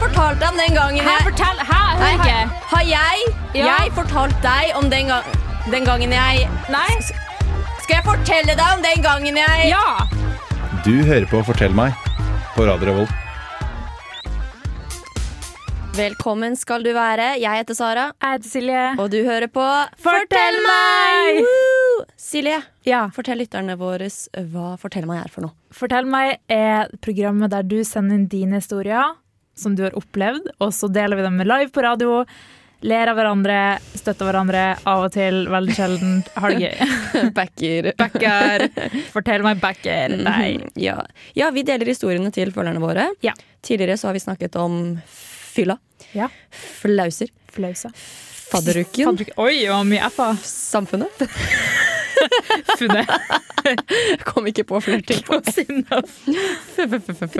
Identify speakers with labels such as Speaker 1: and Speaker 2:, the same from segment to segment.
Speaker 1: fortalt deg om den gangen
Speaker 2: Hæ,
Speaker 1: jeg
Speaker 2: fortell! Hæ, hør
Speaker 1: Nei,
Speaker 2: ikke!
Speaker 1: har, har jeg,
Speaker 2: Ja.
Speaker 1: jeg fortalt deg om den, gang, den gangen jeg
Speaker 2: Nei?
Speaker 1: Skal jeg fortelle deg om den gangen jeg
Speaker 2: Ja!
Speaker 3: Du hører på Fortell meg på Radio Revolt.
Speaker 1: Velkommen skal du være. Jeg heter Sara,
Speaker 2: Jeg heter Silje.
Speaker 1: og du hører på
Speaker 2: Fortell meg!
Speaker 1: Woo! Silje,
Speaker 2: Ja.
Speaker 1: fortell lytterne våre hva Fortell meg er for noe.
Speaker 2: Fortell meg er programmet der du sender inn dine historier som du har opplevd, og så deler vi dem live på radio. Ler av hverandre, støtter hverandre, av og til veldig sjelden. Har det gøy.
Speaker 1: Backer.
Speaker 2: Backer. Mhm. Fortell meg backer. Nei.
Speaker 1: Mhm. Ja. ja, vi deler historiene til følgerne våre.
Speaker 2: Ja.
Speaker 1: Tidligere så har vi snakket om fylla,
Speaker 2: Ja.
Speaker 1: flauser,
Speaker 2: Flausa.
Speaker 1: fadderuken,
Speaker 2: Oi, det var mye F-a.
Speaker 1: samfunnet.
Speaker 2: Funnet.
Speaker 1: Kom ikke på flørting.
Speaker 2: Close enough.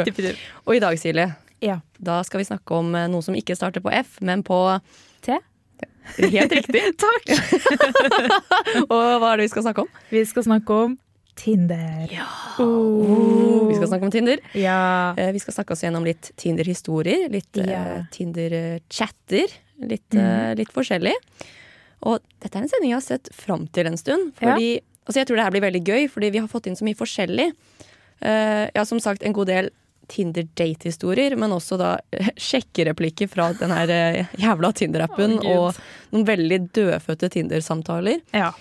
Speaker 1: Og i dag, Silje,
Speaker 2: Ja.
Speaker 1: da skal vi snakke om eh, noe som ikke starter på F, men på
Speaker 2: T.
Speaker 1: Helt riktig.
Speaker 2: Takk.
Speaker 1: Og hva er det vi skal snakke om?
Speaker 2: Vi skal snakke om Tinder. Ja. Uh,
Speaker 1: Vi skal snakke om Tinder.
Speaker 2: ja.
Speaker 1: Eh, Vi skal snakke oss gjennom litt Tinder-historier, litt eh,
Speaker 2: Ja. Mhm.
Speaker 1: Tinder-chatter. Litt, eh, litt forskjellig. Og dette er en sending jeg har sett fram til en stund. Fordi, altså jeg tror det her blir veldig gøy, fordi vi har fått inn så mye forskjellig. Eh, ja, som sagt, en god del Tinder-date-historier, men også da eh, sjekkereplikker fra den her eh, jævla Tinder-appen,
Speaker 2: Å, Gud.
Speaker 1: og noen veldig dødfødte Tinder-samtaler.
Speaker 2: ja.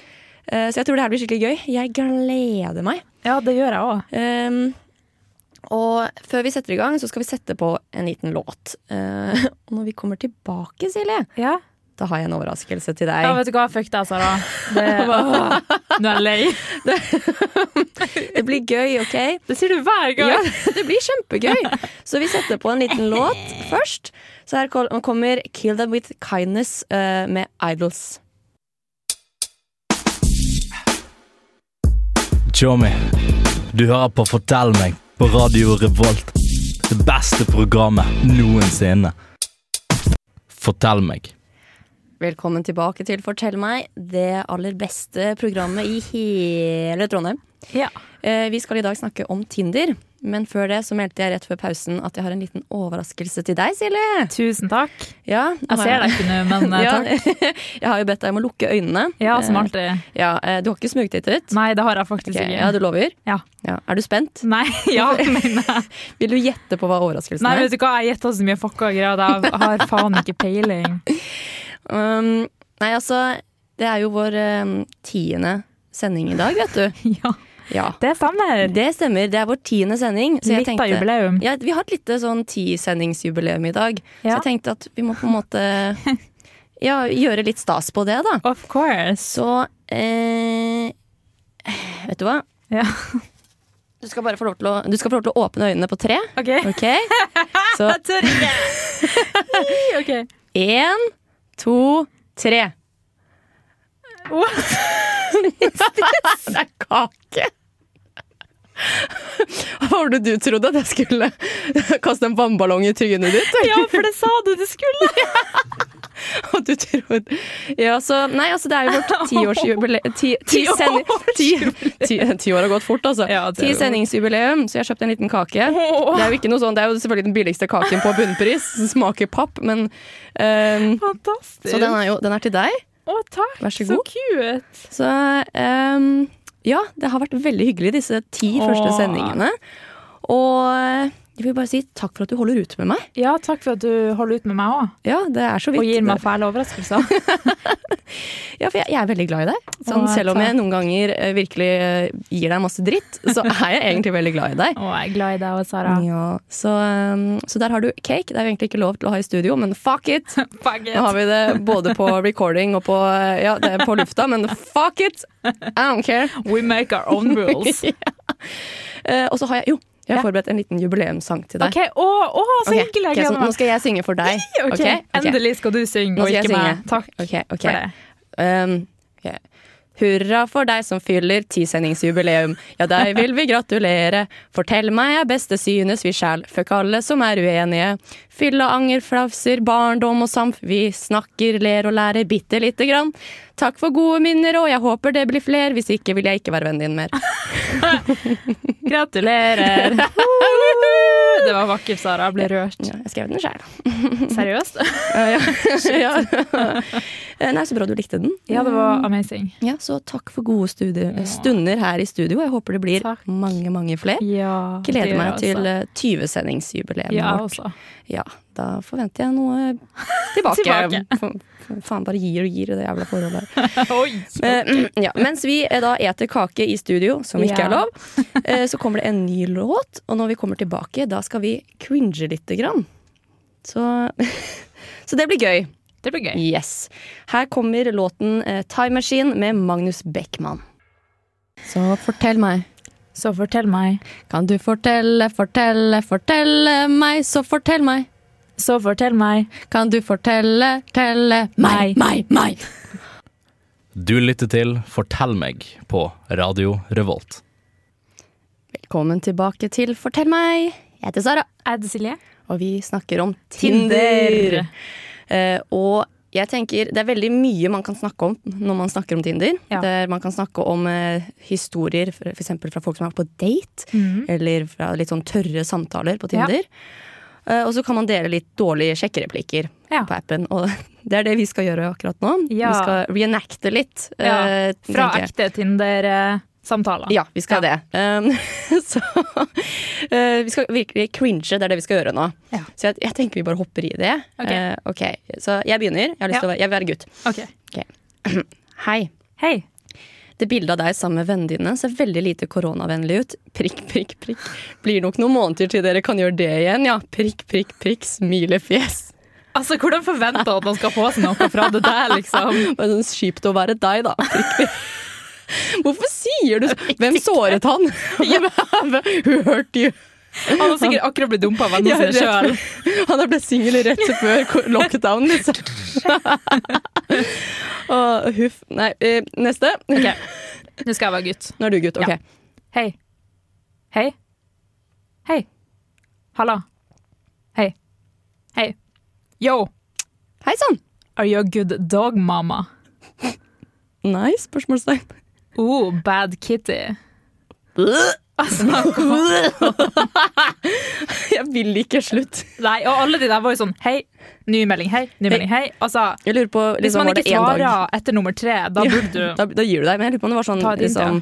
Speaker 1: Eh, så jeg tror det her blir skikkelig gøy. Jeg gleder meg.
Speaker 2: Ja, det gjør jeg òg.
Speaker 1: Ehm, og før vi setter i gang, så skal vi sette på en liten låt. Eh, og når vi kommer tilbake, Silje,
Speaker 2: Ja.
Speaker 1: da har jeg en overraskelse til deg.
Speaker 2: ja, vet du hva? Fuck deg, Sara. Det, åh, nå er jeg lei.
Speaker 1: Det blir gøy, OK?
Speaker 2: Det sier du hver gang.
Speaker 1: Ja, det blir kjempegøy. Så vi setter på en liten låt først. Så her kol- kommer Kill Them With Kindness eh, med Idols.
Speaker 4: Tjommi, du hører på Fortell meg på Radio Revolt. Det beste programmet noensinne. Fortell meg.
Speaker 1: Velkommen tilbake til Fortell meg, det aller beste programmet i hele Trondheim.
Speaker 2: Ja.
Speaker 1: Eh, Vi skal i dag snakke om Tinder, men før det så meldte jeg rett før pausen at jeg har en liten overraskelse til deg, Silje.
Speaker 2: Tusen takk.
Speaker 1: Ja,
Speaker 2: Jeg ser deg ikke nå, men eh,
Speaker 1: Ja,
Speaker 2: takk.
Speaker 1: jeg har jo bedt deg om å lukke øynene.
Speaker 2: Ja, som
Speaker 1: Eh,
Speaker 2: alltid.
Speaker 1: Ja, eh, du har ikke smugtittet?
Speaker 2: Nei, det har jeg faktisk
Speaker 1: Ok, ja,
Speaker 2: ikke.
Speaker 1: du lover?
Speaker 2: Ja.
Speaker 1: Ja. Er du spent?
Speaker 2: Nei, ja, men eh,
Speaker 1: Vil du gjette på hva overraskelsen
Speaker 2: Nei,
Speaker 1: er?
Speaker 2: vet du hva, jeg gjetta så mye fucka greier. at Jeg har faen ikke peiling.
Speaker 1: Um, nei, altså, det er jo vår um, tiende sending i dag, vet du.
Speaker 2: Ja,
Speaker 1: Ja.
Speaker 2: det stemmer.
Speaker 1: Det stemmer, det er vår tiende sending. så jeg
Speaker 2: Litt av
Speaker 1: tenkte-
Speaker 2: jubileum.
Speaker 1: Ja, vi har et lite sånn ti-sendingsjubileum i dag, så
Speaker 2: Ja.
Speaker 1: jeg tenkte at vi må på en måte ja, gjøre litt stas på det, da.
Speaker 2: Of course.
Speaker 1: Så eh, Vet du hva?
Speaker 2: Ja.
Speaker 1: Du skal bare få lov til å, du skal få lov til å åpne øynene på tre,
Speaker 2: OK.
Speaker 1: OK? Så
Speaker 2: tør ikke. OK.
Speaker 1: én, to, tre.
Speaker 2: What?
Speaker 1: Det er kake! Hva var det du trodde at jeg skulle kaste en vannballong i trynet ditt?
Speaker 2: Ja, for det sa du du skulle.
Speaker 1: Og du trodde Ja, så Nei, altså, det er jo vårt tiårsjubileum ti, ti, sendi- ti, ti, ti år har gått fort, altså.
Speaker 2: Ja, det er
Speaker 1: ti
Speaker 2: jo-
Speaker 1: sendingsjubileum, så jeg har kjøpt en liten kake. Det er jo ikke noe sånn, det er jo selvfølgelig den billigste kaken på bunnpris. Den smaker papp, men ehm,
Speaker 2: Fantastisk.
Speaker 1: Så den er jo den er til deg.
Speaker 2: Å, takk.
Speaker 1: Vær så
Speaker 2: så
Speaker 1: god.
Speaker 2: cute.
Speaker 1: Så ehm, ja, det har vært veldig hyggelig disse ti
Speaker 2: Åh.
Speaker 1: første sendingene. Og eh, jeg vil bare si takk for at du holder ut med meg.
Speaker 2: Ja, takk for at du holder ut med meg òg,
Speaker 1: Ja, det er så vidt.
Speaker 2: og gir meg fæle overraskelser.
Speaker 1: Ja, for jeg, jeg er veldig glad i deg. Sånn,
Speaker 2: Åh,
Speaker 1: selv om jeg
Speaker 2: takk.
Speaker 1: noen ganger eh, virkelig eh, gir deg masse dritt, så er jeg egentlig veldig glad i deg.
Speaker 2: Og jeg er glad i deg og Sara.
Speaker 1: Ja, så, um, så der har du cake. Det er jo egentlig ikke lov til å ha i studio, men fuck it!
Speaker 2: Fuck
Speaker 1: Nå har
Speaker 2: it.
Speaker 1: vi det både på recording og på, eh, ja, det er på lufta, men fuck it! I don't care.
Speaker 2: We make our own rules.
Speaker 1: Eh, og så har jeg jo, jeg har
Speaker 2: Ja.
Speaker 1: forberedt en liten jubileumssang til deg.
Speaker 2: OK, å, å så
Speaker 1: Ok,
Speaker 2: hyggelig. Jeg
Speaker 1: ok, så
Speaker 2: gleder
Speaker 1: nå
Speaker 2: meg.
Speaker 1: skal jeg synge for deg.
Speaker 2: Ok,
Speaker 1: Ok, ok.
Speaker 2: Endelig skal du synge,
Speaker 1: Nå
Speaker 2: og
Speaker 1: skal jeg
Speaker 2: ikke
Speaker 1: synge.
Speaker 2: meg. Takk
Speaker 1: Ok, ok.
Speaker 2: for det.
Speaker 1: Um, ok. Hurra for deg som fyller tisendingsjubileum. Ja, deg vil vi gratulere. Fortell meg er beste synes vi sjæl. Fuck alle som er uenige. Fyll og anger, flafser, barndom og samf. Vi snakker, ler og lærer bitte lite grann. Takk for gode minner, og jeg håper det blir fler. Hvis ikke vil jeg ikke være vennen din mer.
Speaker 2: Gratulerer! det var vakkert, Sara. Jeg ble rørt.
Speaker 1: Ja, jeg skrev den sjæl.
Speaker 2: Seriøst?
Speaker 1: Ja. ja. Eh, Nei, så bra du likte den.
Speaker 2: Ja, det var amazing.
Speaker 1: Ja, Så takk for gode studier, stunder her i studio. Jeg håper det blir
Speaker 2: Takk.
Speaker 1: mange, mange flere.
Speaker 2: Ja, det
Speaker 1: Gleder
Speaker 2: gjør
Speaker 1: meg
Speaker 2: jeg
Speaker 1: til
Speaker 2: også.
Speaker 1: eh, 20-sendingsjubileet
Speaker 2: ja, altså.
Speaker 1: vårt.
Speaker 2: også.
Speaker 1: Ja, da forventer jeg noe tilbake.
Speaker 2: Tilbake.
Speaker 1: Fa- Faen, bare gir og gir i det jævla forholdet her.
Speaker 2: Oi,
Speaker 1: Eh, ja, mens vi eh, da eter kake i studio, som ikke
Speaker 2: Ja.
Speaker 1: er lov, eh, så kommer det en ny låt. Og når vi kommer tilbake, da skal vi cringe lite grann. Så, så det blir gøy.
Speaker 2: det blir gøy.
Speaker 1: Yes. Her kommer låten eh, 'Time Machine' med Magnus Beckmann. Så fortell meg.
Speaker 2: Så fortell meg,
Speaker 1: Kan du fortelle, fortelle, fortelle meg, så fortell meg.
Speaker 2: så fortell meg.
Speaker 1: Kan du fortelle, telle
Speaker 2: meg,
Speaker 1: meg, meg?
Speaker 4: Du lytter til Fortell meg på Radio Revolt.
Speaker 1: Velkommen tilbake til Fortell meg. Jeg heter Sara,
Speaker 2: Er det Silje?
Speaker 1: og vi snakker om Tinder. Eh, og jeg tenker det er veldig mye man kan snakke om når man snakker om Tinder.
Speaker 2: Ja.
Speaker 1: Der man kan snakke om eh, historier f.eks. fra folk som er på date,
Speaker 2: Mhm.
Speaker 1: eller fra litt sånn tørre samtaler på Tinder. Eh, og så kan man dele litt dårlige sjekkereplikker
Speaker 2: Ja.
Speaker 1: på appen. Og det er det vi skal gjøre akkurat nå.
Speaker 2: Ja.
Speaker 1: Vi skal reenacte litt.
Speaker 2: Ja,
Speaker 1: eh,
Speaker 2: fra
Speaker 1: tenker jeg.
Speaker 2: ekte Tinder-samtaler.
Speaker 1: Ja, vi skal det. Um, så eh, vi skal virkelig cringe, det er det vi skal gjøre nå.
Speaker 2: Ja.
Speaker 1: Så jeg, jeg tenker vi bare hopper i det.
Speaker 2: Ok.
Speaker 1: Eh, ok, Så jeg begynner. Jeg, har
Speaker 2: Ja.
Speaker 1: lyst til å, være- jeg vil være gutt.
Speaker 2: Ok.
Speaker 1: Hei.
Speaker 2: Hei.
Speaker 1: Det bildet av deg sammen med vennene dine ser veldig lite koronavennlig ut. Prikk, prikk, prikk. Blir nok noen måneder til dere kan gjøre det igjen, ja. Prikk, prikk, prikk. Smilefjes.
Speaker 2: Altså, hvordan forventer jeg at man skal få seg noe fra det der, liksom?
Speaker 1: Bare sånn kjipt å være deg, da. Prikk, prikk. Hvorfor sier du så? Hvem såret han? Who hurt you?
Speaker 2: Han har sikkert akkurat blitt dumpa av
Speaker 1: Ja,
Speaker 2: vennene sine
Speaker 1: rett.
Speaker 2: sjøl.
Speaker 1: Han ble singel rett før ko- lockdown, liksom. Å, huff. Nei, eh, neste.
Speaker 2: Nå skal jeg være gutt.
Speaker 1: Nå er du gutt. Ok.
Speaker 2: Hei. Hei. Hei. Halla. Hei. Hei. Yo,
Speaker 1: Hei sann!
Speaker 2: are you a good dog, mama?
Speaker 1: Nei, spørsmålstegn.
Speaker 2: Oh, bad kitty. Altså,
Speaker 1: Jeg vil ikke slutt.
Speaker 2: Nei, og alle de der var jo sånn Hei, ny melding, hei, ny melding, hei. Altså,
Speaker 1: Jeg lurer på,
Speaker 2: hvis
Speaker 1: liksom,
Speaker 2: man
Speaker 1: var det
Speaker 2: ikke
Speaker 1: én dag?
Speaker 2: svarer etter nummer tre, da burde du
Speaker 1: Da, da gir du deg. Men jeg lurer på om det var sånn
Speaker 2: Ta det inn,
Speaker 1: liksom,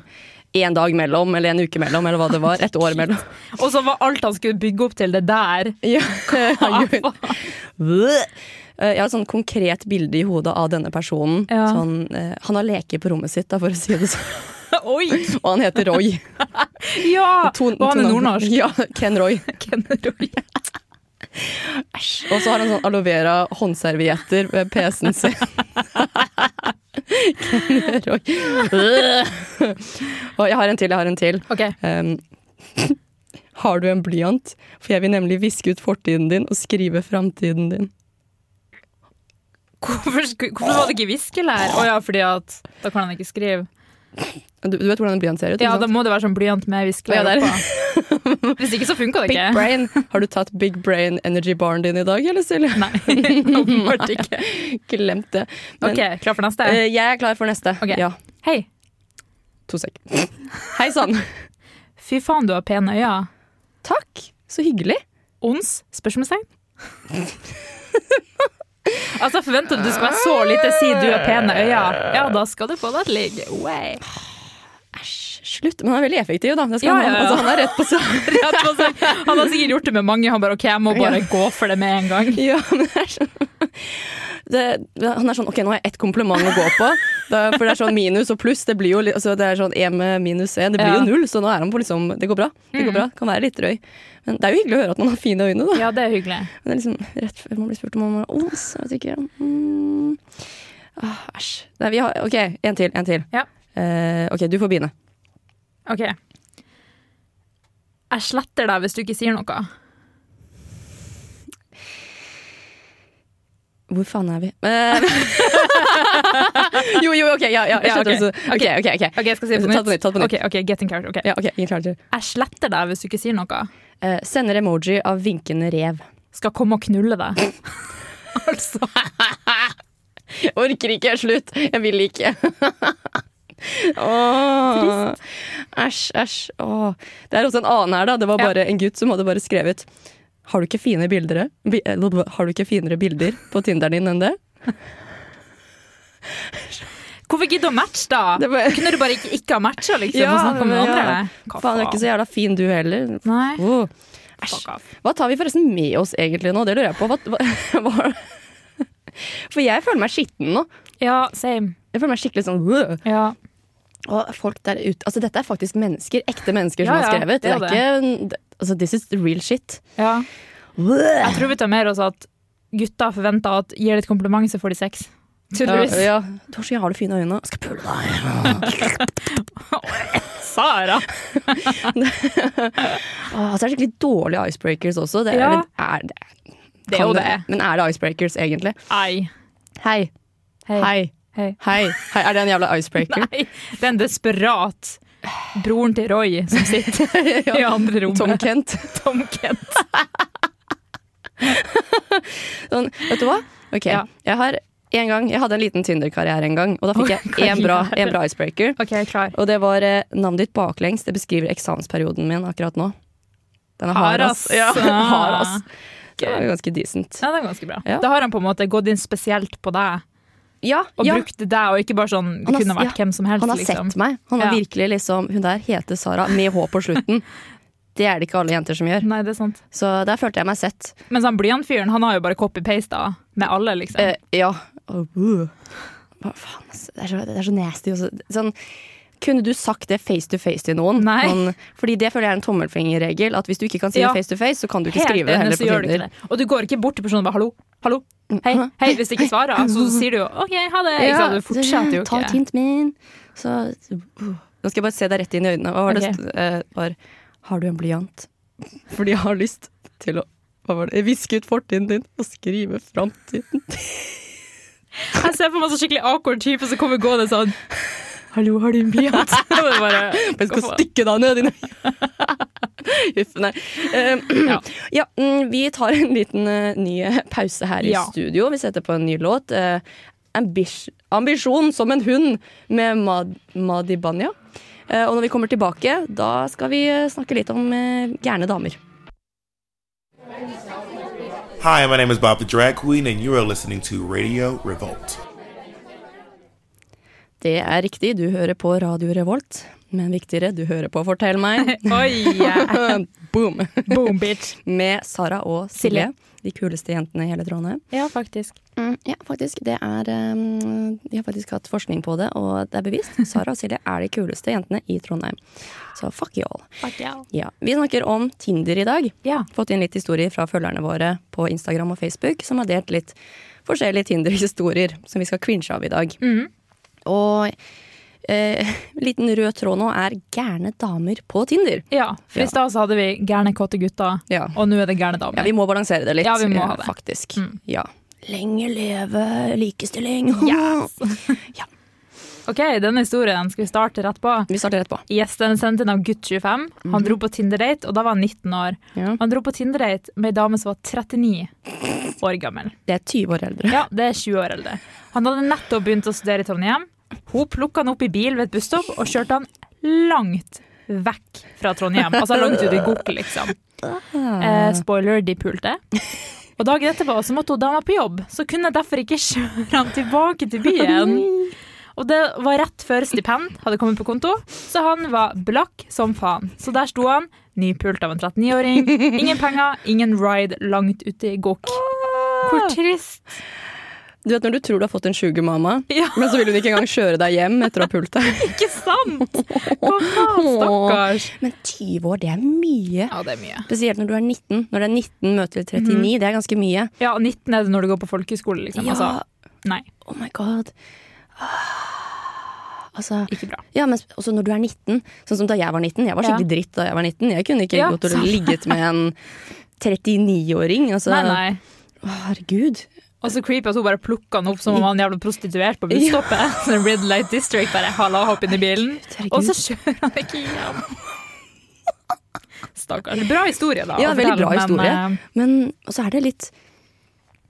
Speaker 1: en dag mellom, eller en uke mellom, eller hva det var. Et år mellom.
Speaker 2: Og så var alt han skulle bygge opp til det der.
Speaker 1: Ja. Jeg har et sånn konkret bilde i hodet av denne personen.
Speaker 2: Ja.
Speaker 1: Sånn, eh, han har leker på rommet sitt, da, for å si det sånn.
Speaker 2: Oi!
Speaker 1: Og han heter Roy.
Speaker 2: Ja!
Speaker 1: To-
Speaker 2: og han
Speaker 1: to
Speaker 2: er
Speaker 1: navn.
Speaker 2: nordnorsk.
Speaker 1: Ja, Ken Roy.
Speaker 2: Kenneroy.
Speaker 1: Æsj. Og så har han sånn aloe vera håndservietter ved PC-en sin. Ken Roy. Og jeg har en til, jeg har en til.
Speaker 2: Ok.
Speaker 1: Um, har du en blyant? For jeg vil nemlig viske ut fortiden din og skrive framtiden din.
Speaker 2: Hvorfor, sku- hvorfor var det ikke viskelær? Å ja, fordi at da kan han ikke skrive.
Speaker 1: Du, du vet hvordan en blyant ser ut? ikke
Speaker 2: Ja, da
Speaker 1: sant?
Speaker 2: må det være sånn blyant med viskelær
Speaker 1: Ja, det er-
Speaker 2: oppå. Hvis ikke så funker det
Speaker 1: Big
Speaker 2: ikke.
Speaker 1: brain. Har du tatt Big Brain Energy Baren din i dag, eller Silje?
Speaker 2: Nei, åpenbart ikke.
Speaker 1: Glemt det. Men,
Speaker 2: Ok, klar for neste?
Speaker 1: eh, jeg er klar for neste.
Speaker 2: Ok.
Speaker 1: Ja,
Speaker 2: Hei.
Speaker 1: to sek. Hei sann.
Speaker 2: Fy faen, du har pene øyne.
Speaker 1: Takk, så hyggelig.
Speaker 2: Ons? Spørsmålstegn? Altså, jeg forventer at du skal være så lite si du har pene øyne. Ja, da skal du få deg et ligg. Way.
Speaker 1: Æsj, slutt. Men han er veldig effektiv, da. Det skal
Speaker 2: Ja,
Speaker 1: han,
Speaker 2: ja, ja.
Speaker 1: Altså, han er rett på sak.
Speaker 2: Ja, det var sånn- Han har sikkert gjort det med mange. Han bare OK, jeg må bare gå for det med en gang.
Speaker 1: Ja, men det er sånn det, Han er sånn OK, nå har jeg ett kompliment å gå på. Da, for det er sånn minus og pluss. Det blir jo li- altså, det er sånn én med minus én. Det blir
Speaker 2: Ja.
Speaker 1: jo null, så nå er han på liksom Det går bra. Det går bra. Kan være litt drøy. Men det er jo hyggelig å høre at man har fine øyne, da.
Speaker 2: Ja, det er hyggelig.
Speaker 1: Men det er liksom rett før man blir spurt om man har ons. Jeg vet ikke. Mm. Ah, Æsj. Nei, vi har OK, en til. En til.
Speaker 2: Ja.
Speaker 1: Eh, OK, du får begynne.
Speaker 2: OK. Jeg sletter deg hvis du ikke sier noe.
Speaker 1: Hvor faen er vi? Eh, jo, jo, ok. Ja, ja, jeg
Speaker 2: Ja,
Speaker 1: skjønte
Speaker 2: ok.
Speaker 1: det. så- Ok, ok. ok.
Speaker 2: Ok, jeg skal si det på nytt.
Speaker 1: Ta det på nytt, ta det på nytt.
Speaker 2: Ok, ok, get in character. ok.
Speaker 1: Ja, ok, ingen klarer det.
Speaker 2: Jeg sletter deg hvis du ikke sier noe.
Speaker 1: Eh, sender emoji av vinkende rev.
Speaker 2: Skal komme og knulle deg. altså.
Speaker 1: Jeg orker ikke. Slutt. Jeg vil ikke. Åh. Æsj, æsj. Åh. Det er også en annen her, da. Det var
Speaker 2: Ja.
Speaker 1: bare en gutt som hadde bare skrevet Har du ikke fine bilder, eh? bi- eller, har du ikke finere bilder på Tinderen din enn det?
Speaker 2: Hvorfor gidder du å matche, da?
Speaker 1: Det var,
Speaker 2: Kunne du bare ikke, ikke ha matcha, liksom,
Speaker 1: Ja,
Speaker 2: og snakka med
Speaker 1: men ja.
Speaker 2: andre? Hva
Speaker 1: faen, du er ikke så jævla fin du heller.
Speaker 2: Nei.
Speaker 1: Åh. Æsj.
Speaker 2: Fuck off.
Speaker 1: Hva tar vi forresten med oss egentlig nå? Det lurer jeg på. Hva, hva, hva? For jeg føler meg skitten nå.
Speaker 2: Ja, same.
Speaker 1: Jeg føler meg skikkelig sånn øh.
Speaker 2: Ja.
Speaker 1: Og folk der ute Altså, dette er faktisk mennesker. Ekte mennesker som
Speaker 2: Ja, ja,
Speaker 1: har skrevet.
Speaker 2: det er
Speaker 1: Det er ikke det- Altså, this is the real shit.
Speaker 2: ja.
Speaker 1: Ja,
Speaker 2: Jeg tror vi tar mer også at gutter forventer at gir de et kompliment, så får de sex. Tydeligvis.
Speaker 1: ja. Torstein, har du fine øyne? Skal pule deg.
Speaker 2: Sara!
Speaker 1: Åh, altså, det er skikkelig dårlige icebreakers også. Det er,
Speaker 2: Ja.
Speaker 1: eller er, det,
Speaker 2: Det er jo
Speaker 1: kan
Speaker 2: det.
Speaker 1: Men er det icebreakers, egentlig?
Speaker 2: Ei.
Speaker 1: Hei.
Speaker 2: Hei.
Speaker 1: Hei.
Speaker 2: Hei.
Speaker 1: Hei. Hei. Er det en jævla icebreaker?
Speaker 2: Nei, det er en desperat broren til Roy som sitter i andre rommet.
Speaker 1: Tom Kent.
Speaker 2: Tom Kent.
Speaker 1: Sånn, vet du hva? Ok,
Speaker 2: Ja.
Speaker 1: jeg har en gang, jeg hadde en liten Tinder-karriere en gang, og da fikk
Speaker 2: Oi,
Speaker 1: jeg en bra,
Speaker 2: karriere.
Speaker 1: en bra icebreaker.
Speaker 2: OK, klar.
Speaker 1: Og det var eh, navnet ditt baklengs, det beskriver eksamensperioden min akkurat nå. Den er hard, ass. Ja, hard, ass. Det var ganske decent.
Speaker 2: Ja, det er ganske bra.
Speaker 1: Ja.
Speaker 2: Da har han på en måte gått inn spesielt på deg,
Speaker 1: Ja,
Speaker 2: og
Speaker 1: ja.
Speaker 2: brukt deg, og ikke bare sånn Det
Speaker 1: Han har-
Speaker 2: kunne vært
Speaker 1: ja,
Speaker 2: hvem som helst,
Speaker 1: Han har
Speaker 2: liksom.
Speaker 1: sett meg. Han har
Speaker 2: Ja.
Speaker 1: virkelig liksom, Hun der heter Sara, med H på slutten. Det er det ikke alle jenter som gjør.
Speaker 2: Nei, det er sant.
Speaker 1: Så der følte jeg meg sett.
Speaker 2: Mens han blyantfyren, han har jo bare copy-pasta med alle, liksom.
Speaker 1: Eh, ja. Åh, uh. Hva faen, ass. det er så, det er så nasty. Også. Sånn, kunne du sagt det face to face til noen?
Speaker 2: Nei.
Speaker 1: Sånn, fordi det føler jeg er en tommelfingerregel. At hvis du ikke kan si
Speaker 2: Ja.
Speaker 1: det face to face, så kan du ikke
Speaker 2: Helt
Speaker 1: skrive det
Speaker 2: enig,
Speaker 1: heller
Speaker 2: så
Speaker 1: på
Speaker 2: gjør du ikke
Speaker 1: Tinder.
Speaker 2: det. Og du går ikke bort til personen og bare 'hallo, hallo, hei, hei', hvis de ikke svarer. Så sier du jo 'OK, ha det'. Ikke sant? Du
Speaker 1: så,
Speaker 2: fortsetter jo
Speaker 1: Ta et
Speaker 2: ikke.
Speaker 1: hint min. Så, uh. Nå skal jeg bare se deg rett inn i øynene. Hva var
Speaker 2: Ok.
Speaker 1: det? st- eh, var, har du en blyant? Fordi jeg har lyst til å hva var det? Viske ut fortiden din og skrive framtiden.
Speaker 2: Jeg ser for meg en sånn skikkelig awkward type som kommer gående sånn 'hallo, har du en blyant?' Og det bare
Speaker 1: Jeg skal
Speaker 2: Hvorfor?
Speaker 1: stikke deg ned, din Huff, nei. Eh,
Speaker 2: Ja.
Speaker 1: ja, mm, vi tar en liten eh, ny pause her i
Speaker 2: Ja.
Speaker 1: studio. Vi setter på en ny låt. eh, Ambis ambisjon som en hund med Mad Madi Banya. Eh, og når vi kommer tilbake, da skal vi eh, snakke litt om eh, gærne damer.
Speaker 5: Hi, my name is Bob the Drag Queen, and you are listening to Radio Revolt.
Speaker 1: Det er riktig, du hører på Radio Revolt. Men viktigere, du hører på Fortell meg.
Speaker 2: Oi! yeah.
Speaker 1: Boom!
Speaker 2: Boom, bitch.
Speaker 1: Med Sara og Silje. De kuleste jentene i hele Trondheim.
Speaker 2: Ja, faktisk.
Speaker 1: Mm, ja, faktisk. Det er um, De har faktisk hatt forskning på det, og det er bevist. Sara og Silje er de kuleste jentene i Trondheim. Så fuck you all.
Speaker 2: Fuck yeah.
Speaker 1: Ja, vi snakker om Tinder i dag.
Speaker 2: Ja.
Speaker 1: Fått inn litt historier fra følgerne våre på Instagram og Facebook, som har delt litt forskjellige Tinder-historier som vi skal cringe av i dag.
Speaker 2: Mm.
Speaker 1: Og eh, liten rød tråd nå er gærne damer på Tinder.
Speaker 2: Ja, for i
Speaker 1: Ja.
Speaker 2: stad så hadde vi gærne kåte gutter,
Speaker 1: Ja.
Speaker 2: og nå er det gærne
Speaker 1: Ja,
Speaker 2: damer.
Speaker 1: vi må balansere det litt,
Speaker 2: Ja, vi må
Speaker 1: eh,
Speaker 2: ha det. Mm.
Speaker 1: faktisk. Ja. Lenge leve likestilling.
Speaker 2: OK, denne historien skal vi starte rett på.
Speaker 1: Vi starter rett på.
Speaker 2: Yes, den er sendt inn av gutt25. Han dro på Tinder-date, og da var han 19 år.
Speaker 1: Ja.
Speaker 2: Han dro på Tinder-date med ei dame som var 39 år gammel.
Speaker 1: Det er 20 år eldre.
Speaker 2: Ja, det er 20 år eldre. Han hadde nettopp begynt å studere i Trondheim. Hun plukka han opp i bil ved et busstopp og kjørte han langt vekk fra Trondheim. Altså langt ut i Gok, liksom. Eh, spoiler, de pulte. Og dagen etterpå så måtte hun dama på jobb, så kunne jeg derfor ikke kjøre han tilbake til byen. Og det var rett før stipend hadde kommet på konto, så han var blakk som faen. Så der sto han, nypult av en 39-åring. Ingen penger, ingen ride langt ute i Gok. Hvor trist.
Speaker 1: Du vet når du tror du har fått en sugarmama,
Speaker 2: Ja.
Speaker 1: men så vil hun ikke engang kjøre deg hjem etter å ha pult deg.
Speaker 2: Ikke sant? Hva faen, stakkars.
Speaker 1: Men 20 år, det er mye.
Speaker 2: Ja, det er mye.
Speaker 1: Spesielt når du er 19. Når det er 19 møter til 39, det er ganske mye.
Speaker 2: Ja, 19 er det når du går på folkehøyskole, liksom.
Speaker 1: Mhm. Ja.
Speaker 2: Altså, nei,
Speaker 1: Oh my god. Ah, Altså,
Speaker 2: ikke bra.
Speaker 1: ja, men også når du er 19, sånn som da jeg var 19. Jeg var skikkelig dritt da jeg var 19. Jeg kunne ikke
Speaker 2: Ja,
Speaker 1: gått og
Speaker 2: samme.
Speaker 1: ligget med en 39-åring. Altså,
Speaker 2: Nei, nei.
Speaker 1: Å, herregud.
Speaker 2: Og så creepy at hun bare plukker han opp som om han er jævla prostituert på busstoppet. Så Red Light District bare halla hopp inn i bilen,
Speaker 1: herregud.
Speaker 2: og så kjører han ikke hjem. Stakkars. Bra historie, da.
Speaker 1: Ja,
Speaker 2: å fortelle, eh,
Speaker 1: veldig bra
Speaker 2: men,
Speaker 1: historie.
Speaker 2: eh,
Speaker 1: Men og så er det litt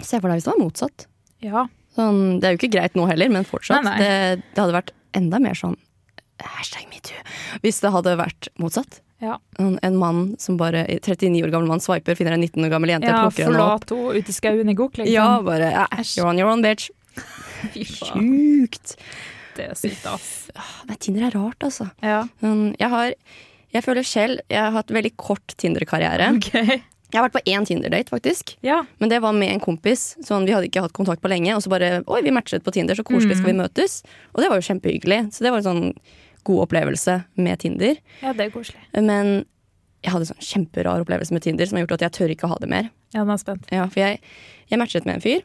Speaker 1: Se for deg hvis det var motsatt.
Speaker 2: Ja,
Speaker 1: Sånn, det er jo ikke greit nå heller, men
Speaker 2: Nei,
Speaker 1: fortsatt.
Speaker 2: nei.
Speaker 1: Det, det hadde vært enda mer sånn hashtag metoo hvis det hadde vært motsatt.
Speaker 2: Ja,
Speaker 1: En, en mann som bare 39 år gammel mann sveiper, finner en 19 år gammel jente,
Speaker 2: ja
Speaker 1: plukker henne opp.
Speaker 2: forlat henne ute i skauen i Gok, liksom.
Speaker 1: Ja, bare æsj. You're on your own, bitch.
Speaker 2: Fy faen,
Speaker 1: Sjukt.
Speaker 2: det er sykt, ass.
Speaker 1: Nei, Tinder er rart, altså.
Speaker 2: Ja.
Speaker 1: Men jeg har jeg føler selv jeg har hatt veldig kort Tinder-karriere.
Speaker 2: Mm. Ok.
Speaker 1: Jeg har vært på én Tinder-date, faktisk.
Speaker 2: Ja.
Speaker 1: Men det var med en kompis. Sånn, vi hadde ikke hatt kontakt på lenge. Og så bare Oi, vi matchet på Tinder, så koselig skal vi møtes. Og det var jo kjempehyggelig. Så det var en sånn god opplevelse med Tinder.
Speaker 2: ja, det er koselig.
Speaker 1: Men jeg hadde en sånn kjemperar opplevelse med Tinder som har gjort at jeg tør ikke å ha det mer.
Speaker 2: Ja, nå er jeg spent.
Speaker 1: Ja, for jeg, jeg matchet med en fyr,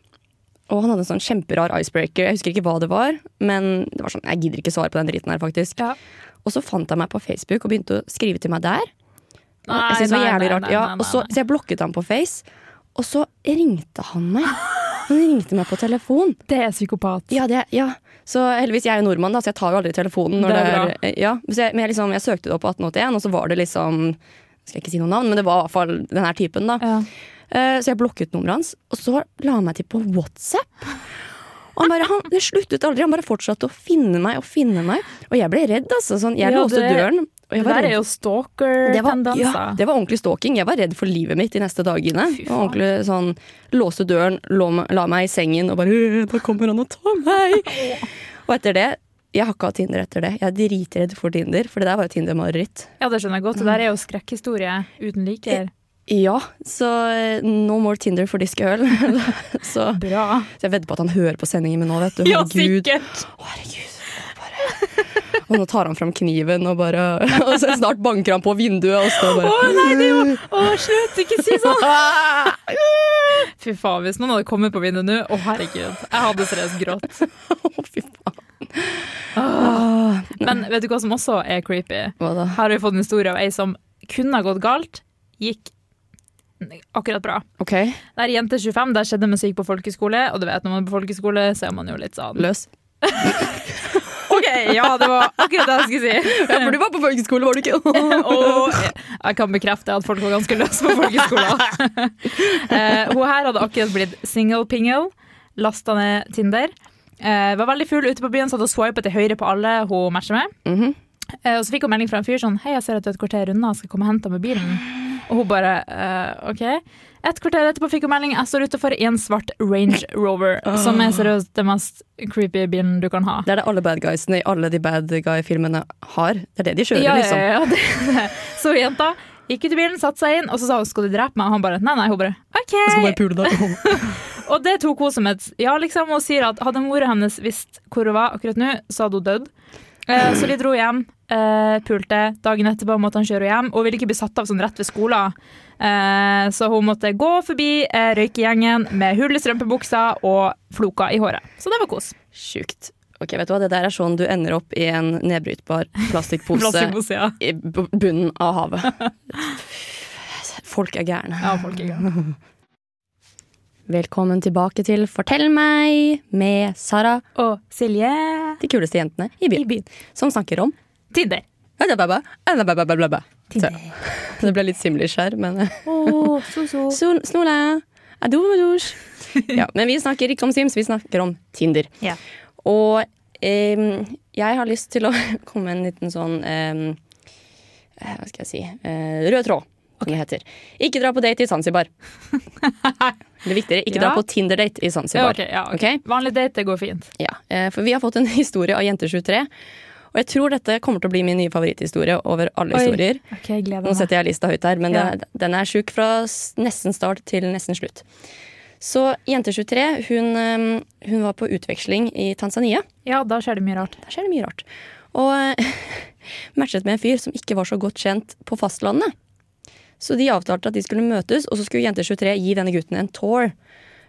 Speaker 1: og han hadde en sånn kjemperar icebreaker. Jeg husker ikke hva det var, men det var sånn, jeg gidder ikke svare på den driten her, faktisk.
Speaker 2: Ja.
Speaker 1: Og så fant han meg på Facebook og begynte å skrive til meg der. Og
Speaker 2: Nei,
Speaker 1: jeg synes det var
Speaker 2: nei,
Speaker 1: jævlig
Speaker 2: nei,
Speaker 1: rart.
Speaker 2: nei,
Speaker 1: Ja,
Speaker 2: nei,
Speaker 1: og så,
Speaker 2: nei.
Speaker 1: så jeg blokket han på Face, og så ringte han meg. Han ringte meg på telefon.
Speaker 2: Det er psykopat.
Speaker 1: Ja, det, ja. Så heldigvis, jeg er jo nordmann, da, så jeg tar jo aldri telefonen. Når
Speaker 2: Det
Speaker 1: det
Speaker 2: er
Speaker 1: er ja. så jeg, men jeg, liksom, jeg søkte det opp på 1881, og så var det liksom Skal jeg ikke si noe navn, men det var i hvert fall den her typen, da.
Speaker 2: Ja.
Speaker 1: Eh, Så jeg blokket nummeret hans, og så la han meg til på WhatsApp. Og han bare, han, det sluttet aldri, han bare fortsatte å finne meg og finne meg. Og jeg ble redd, altså. Sånn, jeg
Speaker 2: Ja,
Speaker 1: låste
Speaker 2: det-
Speaker 1: døren. Og jeg
Speaker 2: Det der
Speaker 1: var redd.
Speaker 2: er jo
Speaker 1: det var,
Speaker 2: stalker-tendenser.
Speaker 1: ja, det var ordentlig stalking. Jeg var redd for livet mitt de neste dagene.
Speaker 2: Fy
Speaker 1: Og ordentlig sånn, Låste døren, lå, la meg i sengen og bare «Øh, Da kommer han og tar meg! og etter det Jeg har ikke hatt Tinder etter det. Jeg er dritredd for Tinder, for det der var jo Tinder-mareritt.
Speaker 2: Ja, det skjønner jeg godt. Det der er jo skrekkhistorie uten liker.
Speaker 1: Ja, så eh, no more Tinder for diskehøl. så,
Speaker 2: Bra.
Speaker 1: så jeg vedder på at han hører på sendingen min nå, vet du.
Speaker 2: Ja,
Speaker 1: Herregud.
Speaker 2: sikkert.
Speaker 1: Å, herregud. Å, bare. Og nå tar han fram kniven, og bare Og så snart banker han på vinduet, og så
Speaker 2: Å
Speaker 1: bare
Speaker 2: nei, det er jo Å, slutt, ikke si sånn! Fy faen, hvis noen hadde kommet på vinduet nå Å, herregud. Jeg hadde seriøst grått.
Speaker 1: Å, fy faen. Ah.
Speaker 2: Men vet du hva som også er creepy?
Speaker 1: Hva da?
Speaker 2: Her har vi fått en historie av ei som kunne ha gått galt, gikk akkurat bra.
Speaker 1: Ok,
Speaker 2: Det er jente 25, der skjedde musikk på folkeskole, og du vet når man er på folkeskole, så er man jo litt sånn
Speaker 1: løs.
Speaker 2: OK, ja, det var akkurat det jeg skulle si.
Speaker 1: Ja, for du var på folkeskole, var du ikke?
Speaker 2: Og jeg kan bekrefte at folk var ganske løse på folkeskolen. Eh, hun her hadde akkurat blitt single-pingle, lasta ned Tinder. Eh, var veldig full ute på byen, satt og swipet til høyre på alle hun matcher med.
Speaker 1: Mhm.
Speaker 2: Eh, og så fikk hun melding fra en fyr sånn Hei, jeg ser at du er et kvarter unna, skal jeg komme og hente deg med bilen. Og hun bare eh, OK. Et kvarter etterpå fikk hun melding Jeg står utafor i en svart Range Rover, som er seriøst det mest creepy bilen du kan ha.
Speaker 1: Det er det alle bad guysene i alle de bad guy-filmene har. Det er det de kjører,
Speaker 2: ja,
Speaker 1: liksom.
Speaker 2: Ja, ja, det, det. Så jenta gikk ut i bilen, satte seg inn, og så sa hun 'skal du drepe meg?' Og han bare nei, nei. Hun bare OK.
Speaker 1: pule deg.
Speaker 2: Og det tok hun som et ja, liksom. Hun sier at hadde mora hennes visst hvor hun var akkurat nå, så hadde hun dødd. Eh, Så de dro hjem, eh, pulte. Dagen etterpå måtte han kjøre henne hjem. Og hun ville ikke bli satt av sånn rett ved skolen, Eh, så hun måtte gå forbi eh, røykegjengen med hull i strømpebuksa og floker i håret. Så det var kos.
Speaker 1: Sjukt. Ok, vet du hva? Det der er sånn du ender opp i en nedbrytbar plastikkpose
Speaker 2: Plastikkpose, ja.
Speaker 1: i bu- bunnen av havet. Folk er gærne.
Speaker 2: Ja, folk er gærne.
Speaker 1: Velkommen tilbake til Fortell meg med Sara,
Speaker 2: Og Silje
Speaker 1: de kuleste jentene i
Speaker 2: i
Speaker 1: byen,
Speaker 2: byen.
Speaker 1: som snakker om
Speaker 2: Tinder.
Speaker 1: Adababa, adababa, blablabla. Så, Det ble litt simlish her, men
Speaker 2: Åh, så så.
Speaker 1: Sol, snola, adomadosj. Ja, men vi snakker ikke om Sims, vi snakker om Tinder.
Speaker 2: Ja.
Speaker 1: Og em, jeg har lyst til å komme med en liten sånn em, eh, Hva skal jeg si eh, Rød tråd, som det heter. Ikke dra på date i Zanzibar. Eller viktigere, ikke dra
Speaker 2: Ja.
Speaker 1: på Tinder-date i
Speaker 2: Ja,
Speaker 1: Zanzibar.
Speaker 2: ok, ja, ok.
Speaker 1: Ok?
Speaker 2: Vanlig date, det går fint.
Speaker 1: Ja, eh, for vi har fått en historie av Jente23. Og jeg tror dette kommer til å bli min nye favoritthistorie over alle
Speaker 2: Oi.
Speaker 1: historier.
Speaker 2: Ok, jeg gleder
Speaker 1: Nå setter jeg lista høyt her, men
Speaker 2: Ja.
Speaker 1: det, den er sjuk fra s- nesten start til nesten slutt. Så Jente23 hun, øhm, hun var på utveksling i Tanzania.
Speaker 2: Ja, da skjer det mye rart.
Speaker 1: Der skjer det mye rart. Og eh, matchet med en fyr som ikke var så godt kjent på fastlandet. Så de avtalte at de skulle møtes, og så skulle Jente23 gi denne gutten en tour.
Speaker 2: Ja,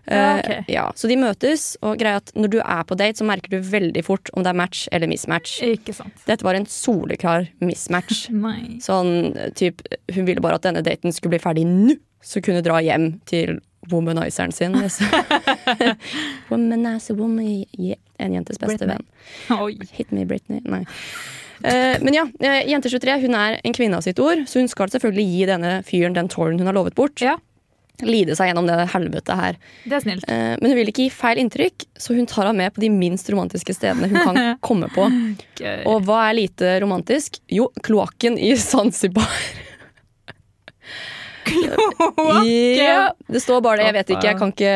Speaker 1: Eh,
Speaker 2: ok.
Speaker 1: ja, så de møtes, og greia er at når du er på date, så merker du veldig fort om det er match eller mismatch.
Speaker 2: Ikke sant.
Speaker 1: Dette var en soleklar mismatch.
Speaker 2: Nei.
Speaker 1: Sånn, typ, hun ville bare at denne daten skulle bli ferdig nå, så kunne hun dra hjem til womanizeren sin. liksom. Womanizer, woman, yeah. En jentes beste
Speaker 2: Britney.
Speaker 1: venn.
Speaker 2: Oi.
Speaker 1: Hit me, Britney. Nei. Eh, men ja, eh, jente 23 hun er en kvinne av sitt ord, så hun skal selvfølgelig gi denne fyren den touren hun har lovet bort.
Speaker 2: Ja.
Speaker 1: lide seg gjennom det helvetet her.
Speaker 2: Det er snilt.
Speaker 1: Eh, Men hun vil ikke gi feil inntrykk, så hun tar ham med på de minst romantiske stedene hun kan komme på.
Speaker 2: Gøy.
Speaker 1: Eh, Og hva er lite romantisk? Jo, kloakken i Zanzibar. Ja, det står bare det, jeg vet ikke, jeg kan ikke